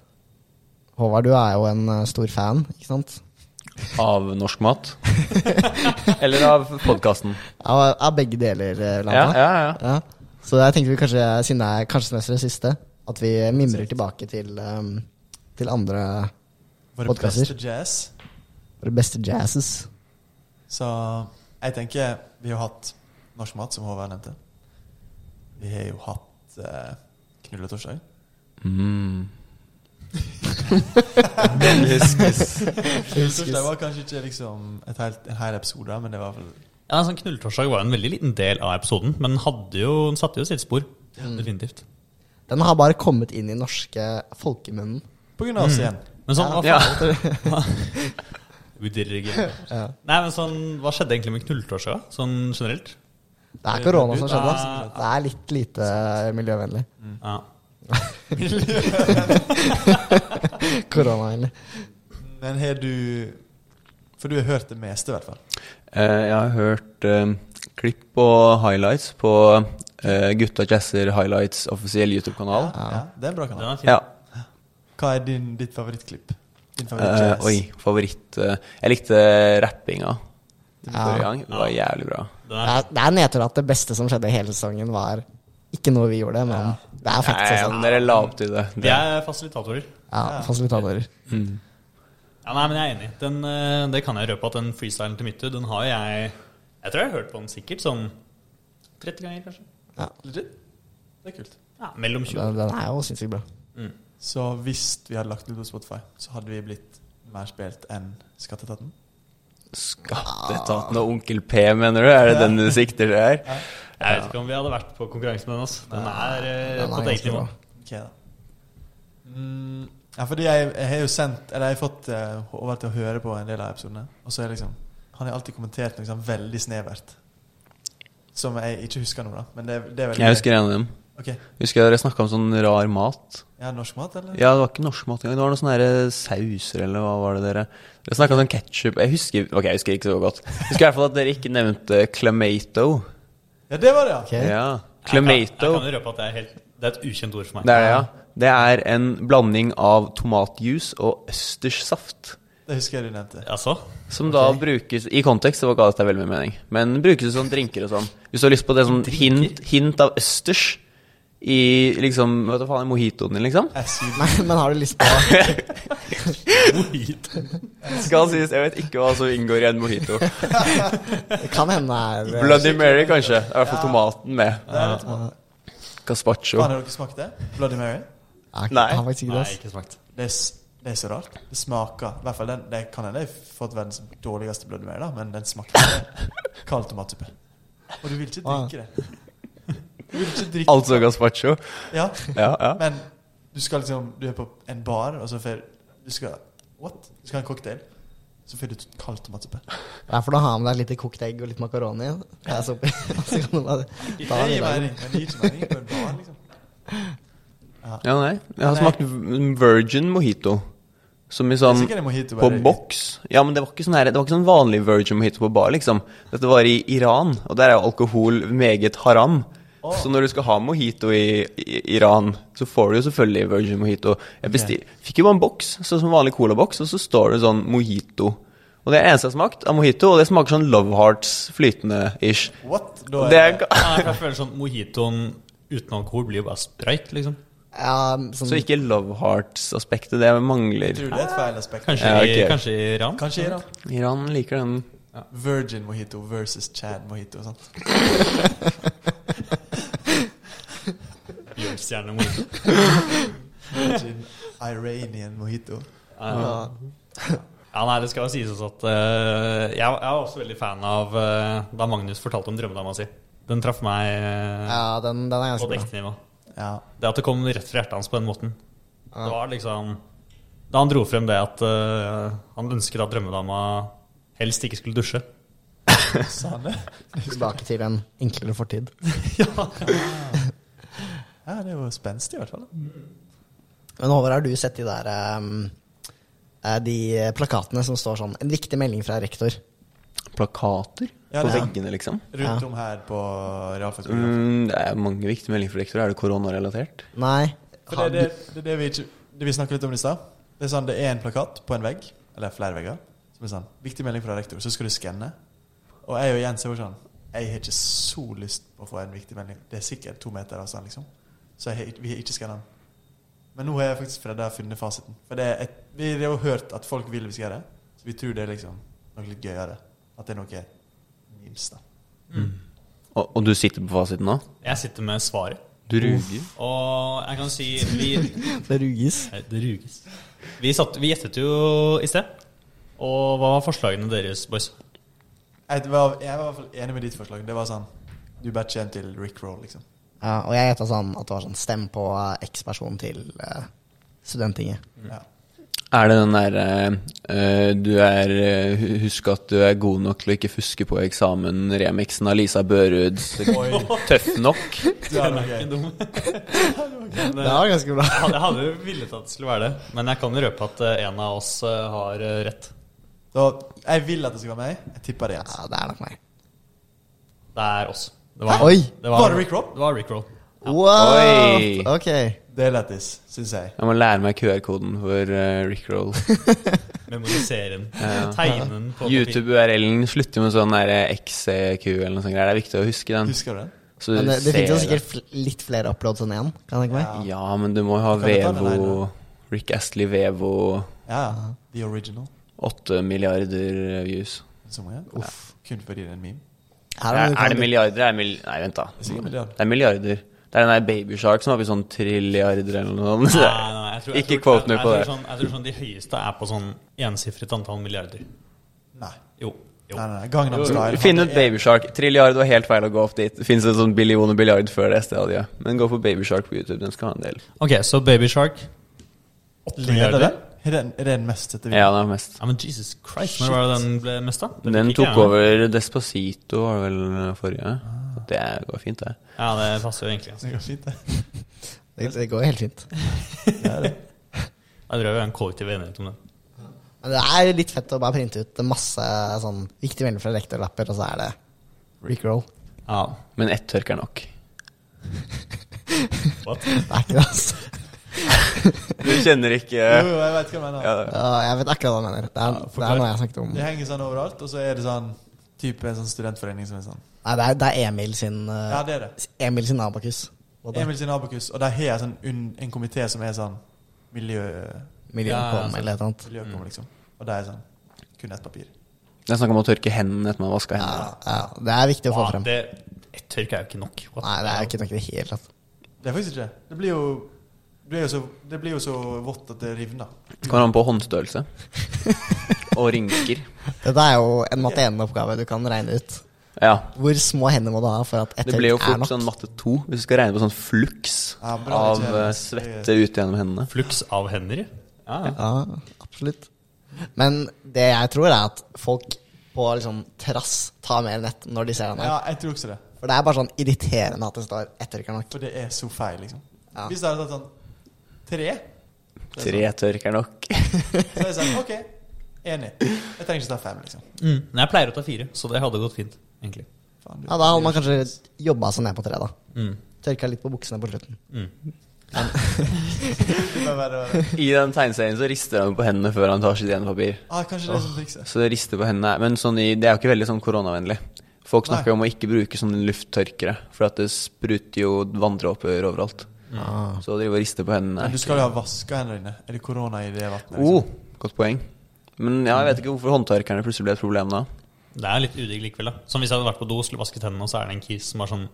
Håvard, du er jo en eh, stor fan, ikke sant? Av norsk mat. Eller av podkasten. Av, av begge deler, eh, Ja, Landa. ja, ja. Ja. Så jeg tenkte vi kanskje, siden det er kanskje semesteret siste, at vi mimrer tilbake til, ehm, til andre Våre Podcaster. beste jazz. våre beste jazzes. Så jeg tenker vi har hatt norsk mat, som Håvard nevnte. Vi har jo hatt eh, knulletorsdag. Mm. Den huskes. Knulletorsdag var kanskje ikke liksom et helt, en hel episode, men det var vel Ja, sånn Knulltorsdag var en veldig liten del av episoden, men hadde jo, den satte jo sitt spor. Mm. Definitivt. Den har bare kommet inn i norske folkemunnen. på Mm. grunn av oss igjen. Men sånn, hva Ja. We did it again. Nei, men sånn, Hva skjedde egentlig med Knulltorsdag, sånn generelt? Det Eh, er korona som skjedde. Ah. Det er litt lite eh, miljøvennlig. Mm. Ja. Koronavennlig. Men har du For du har hørt det meste, i hvert fall. Eh, jeg har hørt eh, klipp og highlights på eh, Gutta jazzer highlights offisiell YouTube-kanal. Ja, det er en bra Den kanal. er fin. Ja. Hva er din, ditt favorittklipp? Din Eh, favoritt-jazz? oi, favoritt eh, Jeg likte rappinga forrige gang. Det var jævlig bra. Den Det er, er, det er nedtur at det beste som skjedde hele sesongen, var ikke noe vi gjorde, men det er Nei, faktisk men sånn. dere la opp til det. vi det. er fasilitatorer. Ja, fasilitatorer. Ja, nei, men jeg er enig. Den, eh, det kan jeg røpe at den freestylen til Myttu, den har jeg Jeg tror jeg har hørt på den sikkert sånn 30 ganger, kanskje. Ja, Legit? Det er kult. Ja, mellom 20. den, den er jo sinnssykt bra. Så hvis vi hadde lagt det ut på Spotify, så hadde vi blitt mer spilt enn Skatteetaten? Skatteetaten og Onkel P, mener du? Er det den du sikter til her? Jeg vet ikke om vi hadde vært på konkurranse med den. Altså. Den er eh, Den på er et eget ganske nivå. bra. Ok, da. Mm, ja, fordi jeg, jeg har jo sendt Eller jeg har fått eh, Håvard til å høre på en del av episodene. Og så er liksom Han har alltid kommentert noe sånn veldig snevert. Som jeg ikke husker nå, da. Men det, det er veldig Jeg husker en av dem. Ok. Husker dere snakka om sånn rar mat? Ja, norsk mat, eller? Ja, det var ikke norsk mat engang. Det var noen sånne her eh, sauser, eller hva var det dere Dere snakka om ketsjup Jeg husker Ok, jeg husker ikke så godt. Jeg husker i hvert fall at dere ikke nevnte clamato. Ja, det var det, ja! Ok. Ja. Jeg kan- Clamato. Jeg kan jo røpe at det er, helt, det er et ukjent ord for meg. Det er det, ja. Det er en blanding av tomatjuice og østerssaft. Det husker jeg du nevnte. Altså? Som da brukes I kontekst så ga dette veldig mye mening, men brukes som drinker og sånn. Hvis du har lyst på det sånn hint, hint av østers i liksom Vet du faen, i mojitoen din, liksom. Jeg sier Nei, men har du lyst på Skal sies, jeg vet ikke hva som inngår i en mojito. Det kan hende det er eh, Bloody Mary, kanskje. I hvert fall tomaten med. det er litt mat. Gazpacho. Faen, har dere smakt det? Bloody Mary? Ja, Nei. jeg har faktisk ikke Nei, det. ass. ikke smakt. Det er, s- det er så rart. Det smaker I hvert fall den, det kan hende jeg har fått verdens dårligste Bloody Mary, da, men den smakte kald tomatsuppe. Og du vil ikke drikke det. Du vil ikke drikke Altså gazpacho. Ja, Ja, ja. men du skal liksom Du er på en bar, og så får du skal What? Du skal ha en cocktail. Så får du kald tomatsuppe. Det er for å ha med deg litt kokt egg og litt makaroni. Ja, så- så kan du bare ta Det den i gir dag. mening, men det gir ikke mening på en bar, liksom. Ja, nei. Jeg har Nei. smakt v- virgin mojito. Som i Det er sånn sikkert en mojito, på bare- boks. Ja, men det var ikke sånn her, det var ikke sånn vanlig virgin mojito på bar, liksom. Dette var i Iran, og der er jo alkohol meget haram. Så når du skal ha mojito i, i Iran, så får du jo selvfølgelig virgin mojito. Jeg bestil, fikk jo bare en boks, sånn som vanlig colaboks, og så står det sånn mojito. Og det er det eneste jeg har smakt av mojito, og det smaker sånn Love Hearts flytende-ish. What? Da Og er Det er, ga- Nei, for jeg føler sånn Mojitoen uten alkohol blir jo bare sprøyt, liksom. Ja, sånn, så ikke Love Hearts-aspektet, det mangler. Tror du det er et feil aspekt? Kanskje, Ja, i- ok. kanskje i Iran? Kanskje Iran. Iran liker den Virgin mojito versus Chad mojito. sånn. Sant? Julestjerne mojito. Virgin Iranian mojito. Ja. Ja, nei, det skal jo sies også at eh, jeg, jeg er også veldig fan av eh, da Magnus fortalte om drømmedama si. Den traff meg eh, ja den, den er på ganske bra. deknivå. Ja. Det at det kom rett fra hjertet hans på den måten. Det var liksom Da han dro frem det at eh, han ønsket at drømmedama helst ikke skulle dusje. Sa han det? Tilbake til en enklere fortid. Ja, det er jo spenstig, i hvert fall. Men Håvard, har du sett de der ehm, eh, De plakatene som står sånn En viktig melding fra rektor. plakater Ja, på det er- veggene, liksom. Rundt om her på realfagsskolen. Mm, det er mange viktige meldinger for rektor. Er det koronarelatert? Nei. For det, er det, det er det vi ikke Det vi snakket litt om i stad. Det er sånn, det er en plakat på en vegg, eller flere vegger, som er sånn 'Viktig melding fra rektor', så skal du skanne. Og jeg og Jens er jo sånn Jeg har ikke så lyst på å få en viktig melding. Det er sikkert to meter avstand, liksom. Så jeg, har ikke- vi har ikke skanna den. Men nå har jeg faktisk Fredda funnet fasiten. For det er et, vi har jo hørt at folk vil vi skal gjøre det. Så vi tror det er liksom noe litt gøyere. At det er noe memes, da. Og, og du sitter på fasiten nå? Jeg sitter med svaret. Du ruger. Og jeg kan si vi, Det ruges. Nei, Det ruges. Vi, satt, vi gjettet jo i sted. Og hva var forslagene deres, boys? Jeg var, jeg var i hvert fall enig med ditt forslag. Det var sånn Du batcher en til Rick Roll, liksom. Ja, og jeg gjetta sånn at det var sånn stem på eh, X-person til eh, Studenttinget. Mm. Ja. Er det den derre Du er eh, hu- Husk at du er god nok til å ikke fuske på eksamen, remixen av Lisa Børuds Tøff nok? Du er Ikke noe gøy. dum. Men, Det eh, var ganske bra. Jeg hadde, jeg hadde jo villet at det skulle være det, men jeg kan jo røpe at eh, en av oss eh, har eh, rett. Da, jeg vil at det skal være meg. Jeg tipper det. Altså. Ja, det er nok meg. Det er oss. Det Oi! det Var det Rick Roll? Det var Rick Roll. Wow! Oi. Ok. Det er lættis, syns jeg. Jeg må lære meg QR-koden for eh, Rickroll. Memorisere den. Ja. Tegne den på papir. YouTube-URL-en slutter med sånn der eh, XCQ eller noe sånt. greier. Det er viktig å huske den. Husker du den? Så du Men det, det ser finnes jo det. sikkert fl litt flere uploads enn én, kan jeg tenke meg. Ja. Ja, men du må jo ha Kan vi ta den her Vevo nå? Rick Astley Vevo ja. The original. 8 milliarder views. Så mange. Uff. Kun fordi det er en meme. Her du Er, er det kan- milliarder? Er det mil Nei, vent, da. Det er sikkert milliard. Det er milliarder. Det er den der Baby Shark som var på sånn trilliarder eller noe Nei, sånt. nei, jeg tror, jeg Ikke tror- quote meg jeg- på jeg det. tror Sånn, jeg tror sånn de høyeste er på sånn ensifret antall milliarder. Nei. Jo. jo. nei, nei, nei. Gangnam Style. Finn ut Baby Shark. Trilliard var helt feil å gå opp dit. Det fins en sånn billion og billiard før det stadiet. Men gå på Baby Shark på YouTube. Den skal ha en del. Ok, så Baby Shark. Leder den? Er det, er det den mest sette Ja, videoen? den er mest. Ja, men Jesus Christ, når var det den ble mest, da? Den Den fikk jeg tok med. over Despacito, var det vel forrige. Det går fint, det. Ja, det passer jo egentlig. altså. Det går fint, det. Det, det går helt fint. det, er det. Jeg drev jo en kollektiv enighet om det. Men det er litt fett å bare printe ut masse sånn viktige meldinger fra rektorlapper, og så er det Rickroll. Ja. Men ett tørk er nok. What? Det er ikke det, altså. Du kjenner ikke Jo, jo, jeg vet hva du mener. ja, Ja, jeg vet akkurat hva du mener. Det er, det forklar. er noe jeg snakket om. Det henger sånn overalt, og så er det sånn type en sånn studentforening som er sånn. Nei, det er, det er Emil sin eh, Ja, det er det. Emil sin abakus. Og det- Emil sin Abakus, og de har jeg sånn, unn- en komité som er sånn miljø, Miljøkom Ja, ja, eller et eller annet. miljøkom, liksom. Og de er sånn kun ett papir. Det er snakk om å tørke hendene etter man har vaska Ja, hendene. ja, det er viktig å få Ja, frem. det Ett tørk er jo ikke nok. What? Nei, det er jo ikke noe i det hele tatt. Det er faktisk ikke det. Det blir jo, det blir jo, så, det blir jo så vått at det rivner. Kommer an på håndstørrelse. og rynker. Dette er jo en matte-1-oppgave du kan regne ut. Ja. Hvor små hender må du ha for at ett Det blir jo tørk er fort nok? sånn matte 2, hvis du skal regne på sånn fluks Ja, bra, av ikke- eh, svette ut gjennom hendene. Flux av hender. Ja, ja. Ja, absolutt. Men det jeg tror, er at folk på liksom trass tar mer nett når de ser den her. Ja, jeg tror også det. For det er bare sånn irriterende at det står 'ettertrykker nok'. For det er så feil, liksom. Ja. Hvis det hadde tatt sånn tre, Tre tørk er nok. så hadde jeg sagt OK, enig. Jeg trenger ikke ta fem, liksom. Mm. Men jeg pleier å ta fire, så det hadde gått fint, egentlig. Faen, du- Ja, da hadde man kanskje jobba seg ned på tre, da. Mm. Tørka litt på buksene på slutten. Det var verre og verre. I den tegneserien så rister han på hendene før han tar sitt ene papir. Ah, kanskje det er som trikset. Så det rister på hendene. Men sånn i, det er jo ikke veldig sånn koronavennlig. Folk Nei. snakker jo om å ikke bruke sånne lufttørkere, for at det spruter jo vanndråper overalt. Ah. Så å drive og riste på hendene Men du skal jo ha vaska hendene dine. Er det korona i det liksom? vannet? oh, Godt poeng. Men ja, jeg vet ikke hvorfor håndtørkerne plutselig ble et problem da. Det er litt udigg likevel, da. Som hvis jeg hadde vært på do og skulle vasket hendene, og så er det en kis som har sånn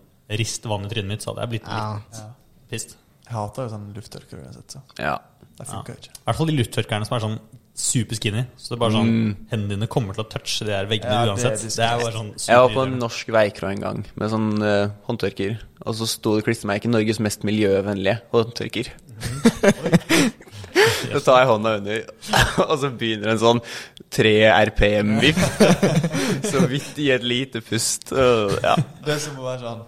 rist vann i trynet mitt, så hadde jeg blitt Ja. litt pissed. Jeg hater jo sånn lufttørker uansett, så Ja. det funker jo ikke. I hvert fall de lufttørkerne som er sånn super skinny. Så det er bare sånn Hendene dine kommer til å touche de der veggene Ja, det er uansett. Det er bare sånn Jeg var på en superirriterende. norsk veikro en gang med sånn eh, håndtørker, og så sto det klistremerket 'Norges mest miljøvennlige håndtørker'. Så tar jeg hånda under, og så begynner en sånn 3 RPM-vipp. Så vidt i et lite pust. og Ja. Det er som å være sånn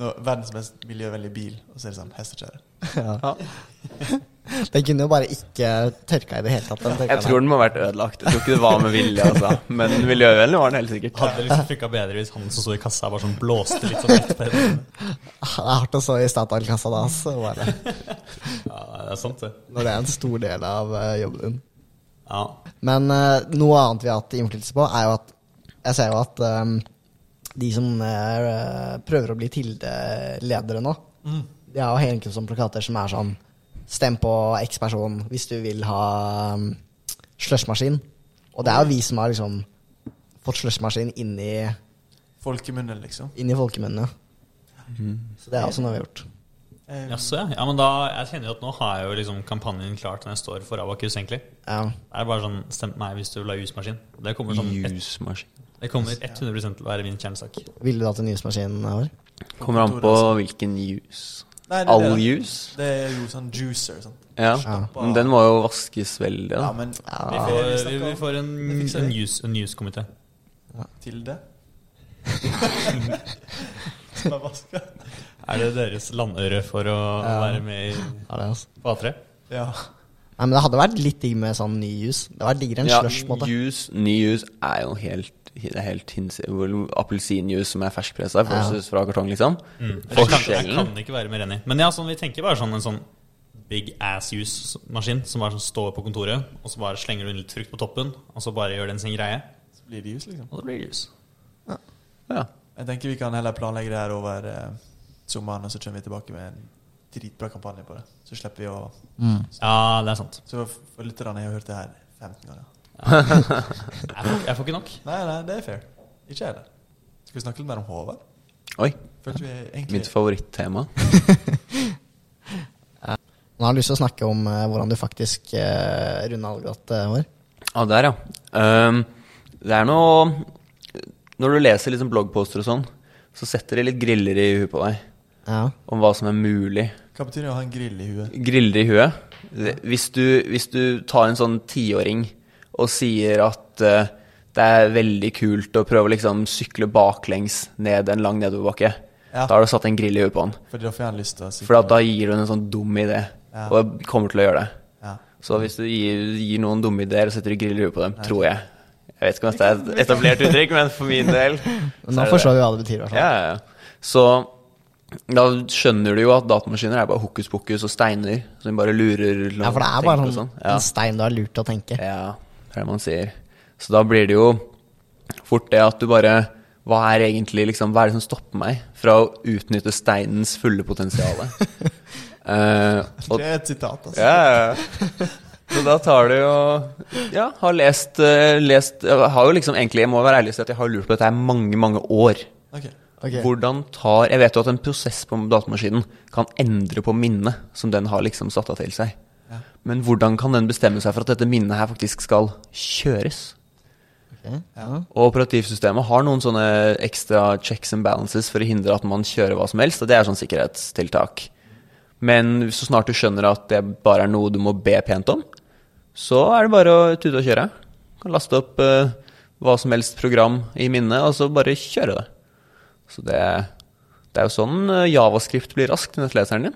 nå, Verdens mest miljøvennlige bil, og så er det sånn hestekjøre. Ja. Den kunne jo bare ikke tørka i det hele tatt. Den tørka Jeg tror den må ha vært ødelagt. Jeg tror ikke det var med vilje, altså. Men miljøvennlig var den helt sikkert. Hadde det liksom funka bedre hvis han som sto i kassa, bare sånn blåste litt sånn rett på hendene. der. Ah, Det er hardt å stå i Statoil-kassa da, altså. Bare, Ja, det er sant, det. når det er en stor del av eh, jobben din. Ja. Men eh, noe annet vi har hatt innflytelse på, er jo at jeg ser jo at eh, de som eh, prøver å bli Tilde-ledere nå, Mm. de har jo helkjønnsplakater som er sånn Stem på X person hvis du vil ha um, slushmaskin. Og det er jo vi som har liksom fått slushmaskin inn i, Folkemunnen, liksom. inn i folkemunnene. Mm. Så det er også noe vi har gjort. Eh, Jaså, ja. ja. Men da Jeg kjenner jo at nå har jeg jo liksom kampanjen klar til når jeg står for Abakus, egentlig. Ja. Det er bare sånn Stemt meg hvis du vil ha jusmaskin. Det kommer sånn Jusmaskin. Det kommer 100 til å være min kjernesak. Ville du hatt en jusmaskin vår? Kommer an på hvilken jus. Ehm, Nei, det er All det. jus? Det er jo sånn juicer, sant. Ja. Stappa- Men den må jo vaskes veldig, Ja, da. men Vi Ja. får, vi, vi får en, Det fikser en vi. news- en news-komité. til det Som er vaska. Er det deres landøre for å være med i Ja, det er altså. på A3? Ja. Nei, men det hadde vært litt digg med sånn ny jus. Det hadde vært diggere enn Ja, slush. på en måte. jus, ny jus er jo helt det er helt hinsides. Appelsinjuice som er ferskpressa versus fra kartong, liksom. Mm. Jeg kan, jeg Forskjellen kan ikke være mer enig. Men ja, sånn, vi tenker bare sånn en sånn big ass juice-maskin som bare sånn står på kontoret, og så bare slenger du litt frukt på toppen, og så bare gjør den sin greie. Så blir det jus, liksom. Og det blir juice. ja. Jeg tenker vi kan heller planlegge det her over eh, sommeren, og så kommer vi tilbake med en dritbra kampanje på det. Så slipper vi å Ja, det er sant. Så for lytterne har hørt det her 15 ganger. Jeg får, jeg får ikke nok. Nei, nei, det er fair. Ikke jeg heller. Skal vi snakke litt mer om Håvard? Oi. Følte vi egentlig Mitt favorittema. Nå har jeg lyst til å snakke om eh, hvordan du faktisk uh, runda Algot eh, vår. Ja, der, ja. Ehm, det er noe Når du leser liksom bloggposter og sånn, så setter det litt griller i huet på deg Ja. om hva som er mulig. Hva betyr det å ha en grill i huet? Griller i huet. Hvis du, hvis du tar en sånn tiåring og sier at eh, det er veldig kult å prøve å liksom sykle baklengs ned en lang nedoverbakke, Ja. da har du satt en grill i huet på han. Fordi da får han lyst til å si For at da gir du en sånn dum idé, Ja. og kommer til å gjøre det. ja. Så hvis du gir, gir noen dumme ideer og setter du grill i huet på dem, tror jeg Jeg vet ikke om dette er et etablert uttrykk, men for min del Men Nå forstår vi hva det betyr. i hvert fall. ja, ja, ja. Så da skjønner du jo at datamaskiner er bare hokus pokus og steiner som bare lurer Ja, for det er bare sånn, Ja. en stein du har lurt til å tenke. ja, det er det man sier. Så da blir det jo fort det at du bare Hva er egentlig liksom, hva er det som stopper meg fra å utnytte steinens fulle potensial? Eh, og Det er et sitat, altså. ja, ja. Så da tar det jo Ja, har lest, eh, lest jeg Har jo liksom egentlig, jeg må være ærlig og si at jeg har lurt på dette her mange, mange år. Ok. Ok. Hvordan tar Jeg vet jo at en prosess på datamaskinen kan endre på minnet som den har liksom satt av til seg. Men hvordan kan den bestemme seg for at dette minnet her faktisk skal kjøres? ok. Og operativsystemet har noen sånne ekstra checks and balances for å hindre at man kjører hva som helst, og det er sånn sikkerhetstiltak. Men så snart du skjønner at det bare er noe du må be pent om, så er det bare å tute og kjøre. Kan laste opp eh, hva som helst program i minnet, og så bare kjøre det. Så det, det er jo sånn eh, javascript blir raskt i nettleseren din.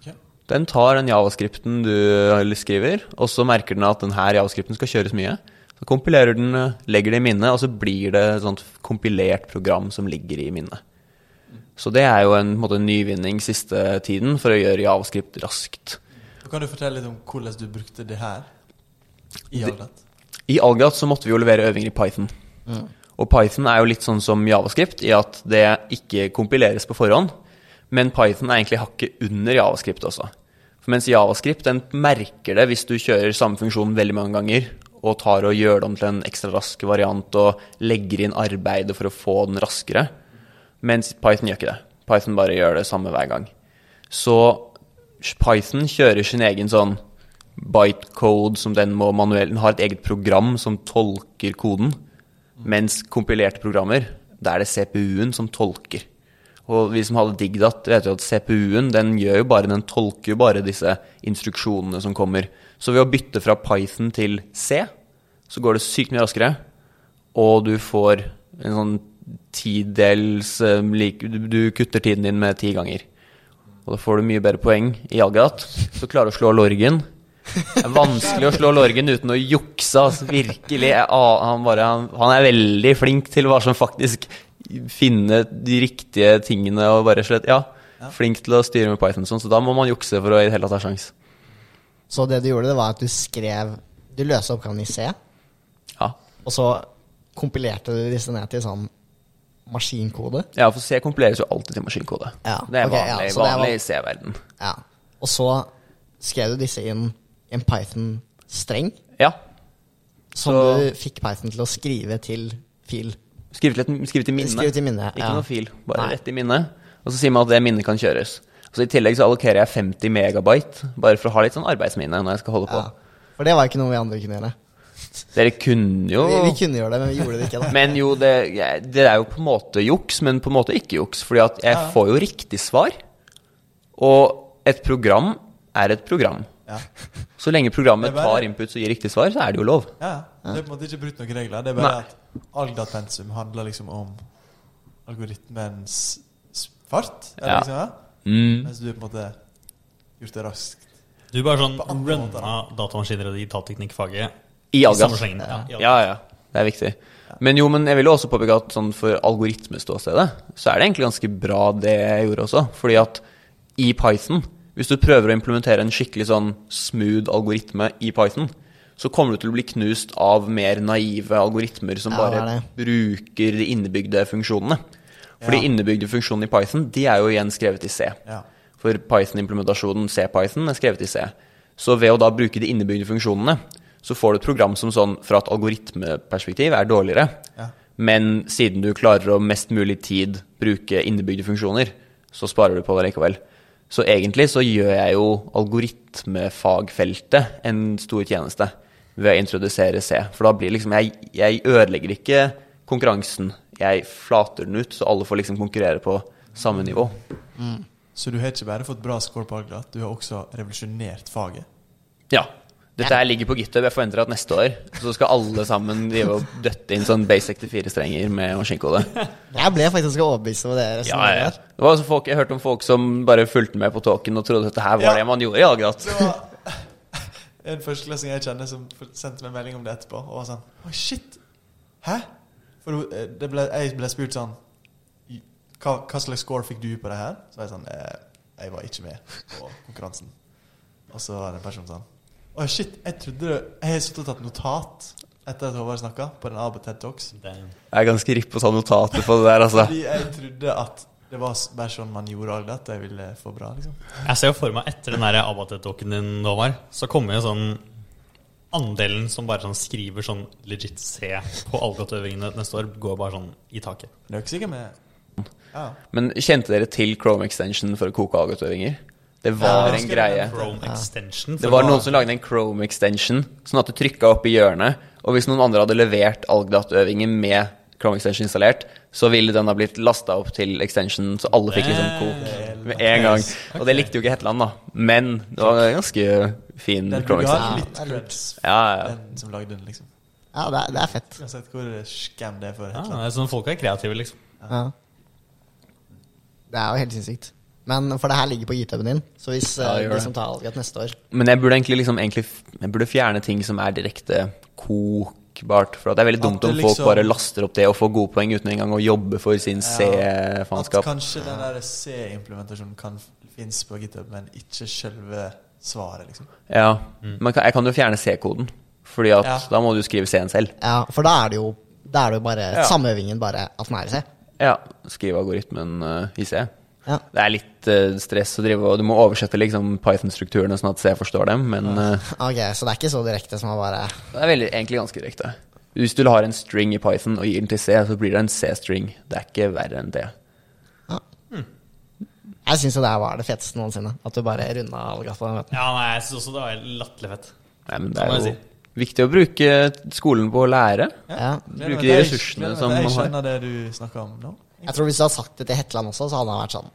Ok. Den tar den javascripten du eh, skriver, og så merker den at den her javascripten skal kjøres mye. Så kompilerer den, eh, legger det i minnet, og så blir det et sånt kompilert program som ligger i minnet. Så det er jo en, på en måte, nyvinning siste tiden for å gjøre javascript raskt. Kan du fortelle litt om hvordan du brukte det her i Aldat? I Algrat så måtte vi jo levere øvinger i Python. Og Python er jo litt sånn som Javascript i at det ikke kompileres på forhånd. Men Python er egentlig hakket under Javascript også. For mens Javascript den merker det hvis du kjører samme funksjon veldig mange ganger og tar og gjør det om til en ekstra rask variant og legger inn arbeidet for å få den raskere. Mens Python gjør ikke det. Python bare gjør det samme hver gang. Så Python kjører sin egen sånn bytecode som den må manuelt Den har et eget program som tolker koden. Mens kompilerte programmer, da er det CPU-en som tolker. Og vi som hadde DigDat, vet jo at CPU-en den gjør jo bare, den tolker jo bare disse instruksjonene som kommer. Så ved å bytte fra Python til C, så går det sykt mye raskere. Og du får en sånn tidels eh, lik, du- Du kutter tiden din med ti ganger. Og da får du mye bedre poeng i Algat. Så klarer du å slå Lorgen. Det er vanskelig å slå Lorgen uten å jukse, altså, virkelig. Jeg, a- han, bare, han, han er veldig flink til hva som faktisk finne de riktige tingene og bare slett Ja, flink til å styre med Python, og sånn, så da må man jukse for å i det hele tatt ha sjans. Så det du gjorde, det var at du skrev Du løste oppgaven i C, Ja. og så kompilerte du disse ned til sånn maskinkode. ja, for C kompileres jo alltid til maskinkode. Ja, Det er ok, ja, vanlig, så det er vanlig van- i C-verden. Ja. Og så skrev du disse inn i en Python-streng, Ja. som Så- du fikk Python til å skrive til fil. Skriv til, et- skriv til minne. Skriv til minne, Ikke ja. noe fil, bare Nei. rett i minne. Og så sier man at det minnet kan kjøres. Så I tillegg så allokerer jeg 50 megabyte, bare for å ha litt sånn arbeidsminne når jeg skal holde på. Ja. For det var ikke noe vi andre kunne gjøre. Dere kunne jo Vi, vi kunne gjøre det, men vi gjorde det ikke. da Men jo, det, jeg- det er jo på en måte juks, men på en måte ikke juks. Fordi at jeg får jo riktig svar. Og et program er et program. Ja. Så lenge programmet Det er bare- tar input og gir riktig svar, så er det jo lov. ja. Det er på en måte ikke brutt noen regler. Det er bare Nei. at Aldat-pensum handler liksom om algoritmens s- fart. Er det Ja. liksom, ja? Mm. Mens du på en måte gjort det raskt. Du bare sånn andre måter, runna datamaskiner og digitalteknikkfaget I i Algas. samme slengen. Ja, i Algas. Ja, ja. Det er viktig. Men jo, men jeg vil jo også påpeke at sånn for algoritmeståstedet, så er det egentlig ganske bra det jeg gjorde også. Fordi at i Python, hvis du prøver å implementere en skikkelig sånn smooth algoritme i Python, så kommer du til å bli knust av mer naive algoritmer som Ja, bare det bruker de innebygde funksjonene. For Ja. de innebygde funksjonene i Python, de er jo igjen skrevet i C. Ja. For Python-implementasjonen C-Python er skrevet i C. Så ved å da bruke de innebygde funksjonene, så får du et program som sånn fra et algoritmeperspektiv er dårligere. Ja. Men siden du klarer å mest mulig tid bruke innebygde funksjoner, så sparer du på det likevel. Så egentlig så gjør jeg jo algoritmefagfeltet en stor tjeneste ved å introdusere C. For da blir liksom Jeg, jeg ødelegger ikke konkurransen. Jeg flater den ut, så alle får liksom konkurrere på samme nivå. Så du har ikke bare fått bra score på Aldat, du har også revolusjonert faget. Ja. Dette her ligger på GitHub. Jeg forventer at neste år så skal alle sammen drive og døtte inn sånn base 64-strenger med maskinkode. Jeg ble faktisk overbevist over det resonnementet der. Det var altså folk, Jeg hørte om folk som bare fulgte med på talken og trodde at dette her var Ja. det man gjorde i Algrat. Det var en førsteklassing jeg kjenner som sendte meg melding om det etterpå, og var sånn Å, shit! Hæ? For hun- eh, det ble, jeg ble spurt sånn «I- hva, hva slags score fikk du på det her? Så var jeg sånn eh, Jeg var ikke med på konkurransen. Og så var det en person sånn Å, shit! Jeg trodde det Jeg har sittet og tatt notat etter at Håvard snakka på den Abo TED Talks. Damn. Jeg er ganske ripp på sånne notater på det der, altså. Fordi jeg trodde at det var s- bare sånn man gjorde alt, at jeg ville få bra, liksom. Jeg ser jo for meg etter den der Abatet-talken din, Håvard, så kommer jo sånn Andelen som bare sånn skriver sånn legit C på Algot-øvingene neste år, går bare sånn i taket. Men det er jo ikke sikkert med Ja. Men kjente dere til Chrome Extension for å koke Algrat-øvinger? Det Ja, var en husker greie. den. Chrome Extension. Det var noen som lagde en Chrome extension, sånn at du trykka opp i hjørnet. Og hvis noen andre hadde levert Algdat-øvingen med Chrome extension installert, så ville den ha blitt lasta opp til extension, så Eh, alle fikk liksom kok med en gang. Og det likte jo ikke Hetland, da. Men det var ganske fin Den burde crawling-stil. ha Ja, litt det er lurt. creds, Ja, ja. den som lagde den, liksom. Ja, det er, det er fett. Uansett hvor skam det er for et Ja, eller det annet. er sånn folk er kreative, liksom. Ja. Det er jo helt sinnssykt. Men for det her ligger på GitHuben din, så hvis Ja, eh, gjør de det. som tar valget neste år Men jeg burde egentlig liksom egentlig, f- Jeg burde fjerne ting som er direkte kokbart. For at det er veldig At dumt det om liksom- folk bare laster opp det og får gode poeng uten engang å jobbe for sin eh, At C-faenskap. kanskje den der C-implementasjonen kan finnes på GitHub, men ikke selve svaret, liksom. Ja. Mm. Men kan- jeg kan jo fjerne C-koden, Fordi at Ja. da må du skrive C-en selv. Ja, for da er det jo, da er det jo bare Ja. samme øvingen, bare at den er i seg. Ja, Skrive algoritmen eh, i C. Ja. Det er litt eh, stress å drive og Du må oversette liksom Python-strukturene sånn at C forstår dem, men eh, Ok, så det er ikke så direkte som å bare det er veldig, egentlig ganske direkte. Hvis du har en string i Python og gir den til C, så blir det en C-string. Det er ikke verre enn det. Jeg syns jo det her var det feteste noensinne. At du bare runda all gata. med den. Ja, nei, jeg syns også det var latterlig fett. Nei, men det Kan er jeg jo viktig å bruke skolen på å lære. Ja. Gleder meg Bruke til de jeg- ressursene gleder meg som til man Jeg har. skjønner det du snakker om nå. Jeg tror hvis du hadde sagt det til Hetland også, så hadde han vært sånn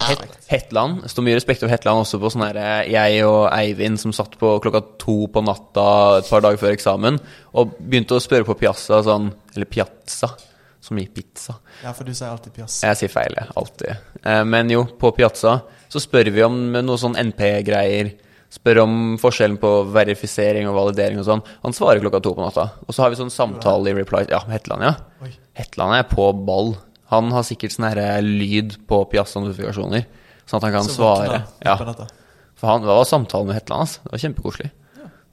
ja, Het, Hetland. Står mye respekt av Hetland også på sånn her eh, Jeg og Eivind som satt på klokka to på natta et par dager før eksamen og begynte å spørre på Piazza sånn Eller Piazza, som i pizza. Ja, for du sier alltid piass. Jeg sier feil, jeg. Alltid. Eh, Men jo, på Piazza så spør vi om noe sånn NP-greier. Spør om forskjellen på verifisering og validering og sånn. Han svarer klokka to på natta. Og så har vi sånn samtale i Reply Ja, Hetland, ja. Oi. Hetland er på ball. Han har sikkert sånn herre lyd på Piazza-notifikasjoner. Sånn at han kan Så svare. våkner jeg på Ja, natta. for han, det var samtalen med Hetland hans. Det var kjempekoselig.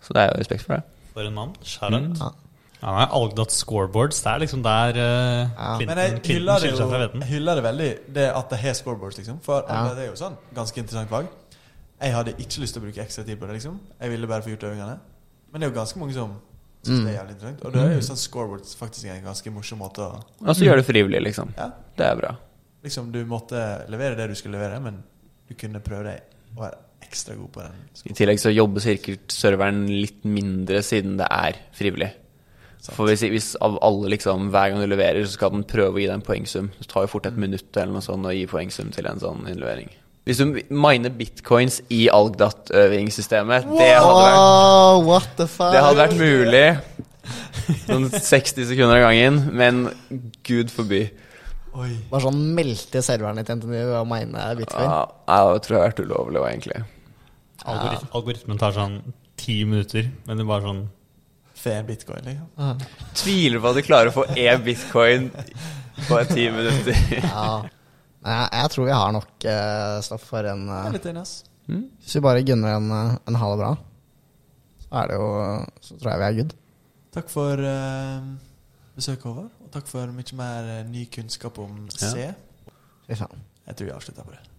Så det er jo respekt for det. For en mann. Shout out. Ja. Mm. Ja, nei, Algdat scoreboards, det er liksom der eh, Ja. Clinton, Men jeg Clinton hyller det, skiller seg fra jo, veten. hyller det veldig, det at de har scoreboards, liksom. For Ja. det er jo sånn ganske interessant fag. Jeg hadde ikke lyst til å bruke ekstra tid på det, liksom. Jeg ville bare få gjort øvingene. Men det er jo ganske mange som syns det er jævlig interessant. Og da er jo sånn scoreboards faktisk en ganske morsom måte å Og så gjør det frivillig, liksom. Ja, Det er bra. liksom du måtte levere det du skulle levere, men du kunne prøve deg å være ekstra god på den. I tillegg så jobber sikkert serveren litt mindre siden det er frivillig. Sant. For hvis, hvis av alle liksom, hver gang du leverer, så skal den prøve å gi deg en poengsum. Det tar jo fort et Mm. minutt eller noe sånt å gi poengsum til en sånn innlevering. Hvis du miner bitcoins i Algdat-øvingssystemet, det, hadde vært- Wow, what the fuck? det hadde vært mulig. Noen 60 sekunder av gangen, men gud forby. Oi. Bare sånn melte serveren ditt Anthony, og mine bitcoin. Ja, jeg tror jeg har vært ulovlig òg, egentlig. Algorit Algoritmen tar sånn ti minutter, men det er bare sånn Fe bitcoin, liksom. Tviler på at du klarer å få én bitcoin på ti minutter. Ja. Nei, Jeg, jeg tror vi har nok eh, stoff for en eh, Jeg er litt enig, ass. Hvis vi bare gunner en, eh, en ha det bra, så er det jo Så tror jeg vi er good. Takk for eh, besøket, Håvard. Og takk for mye mer eh, ny kunnskap om C. Fy faen. Jeg tror vi avslutter på det.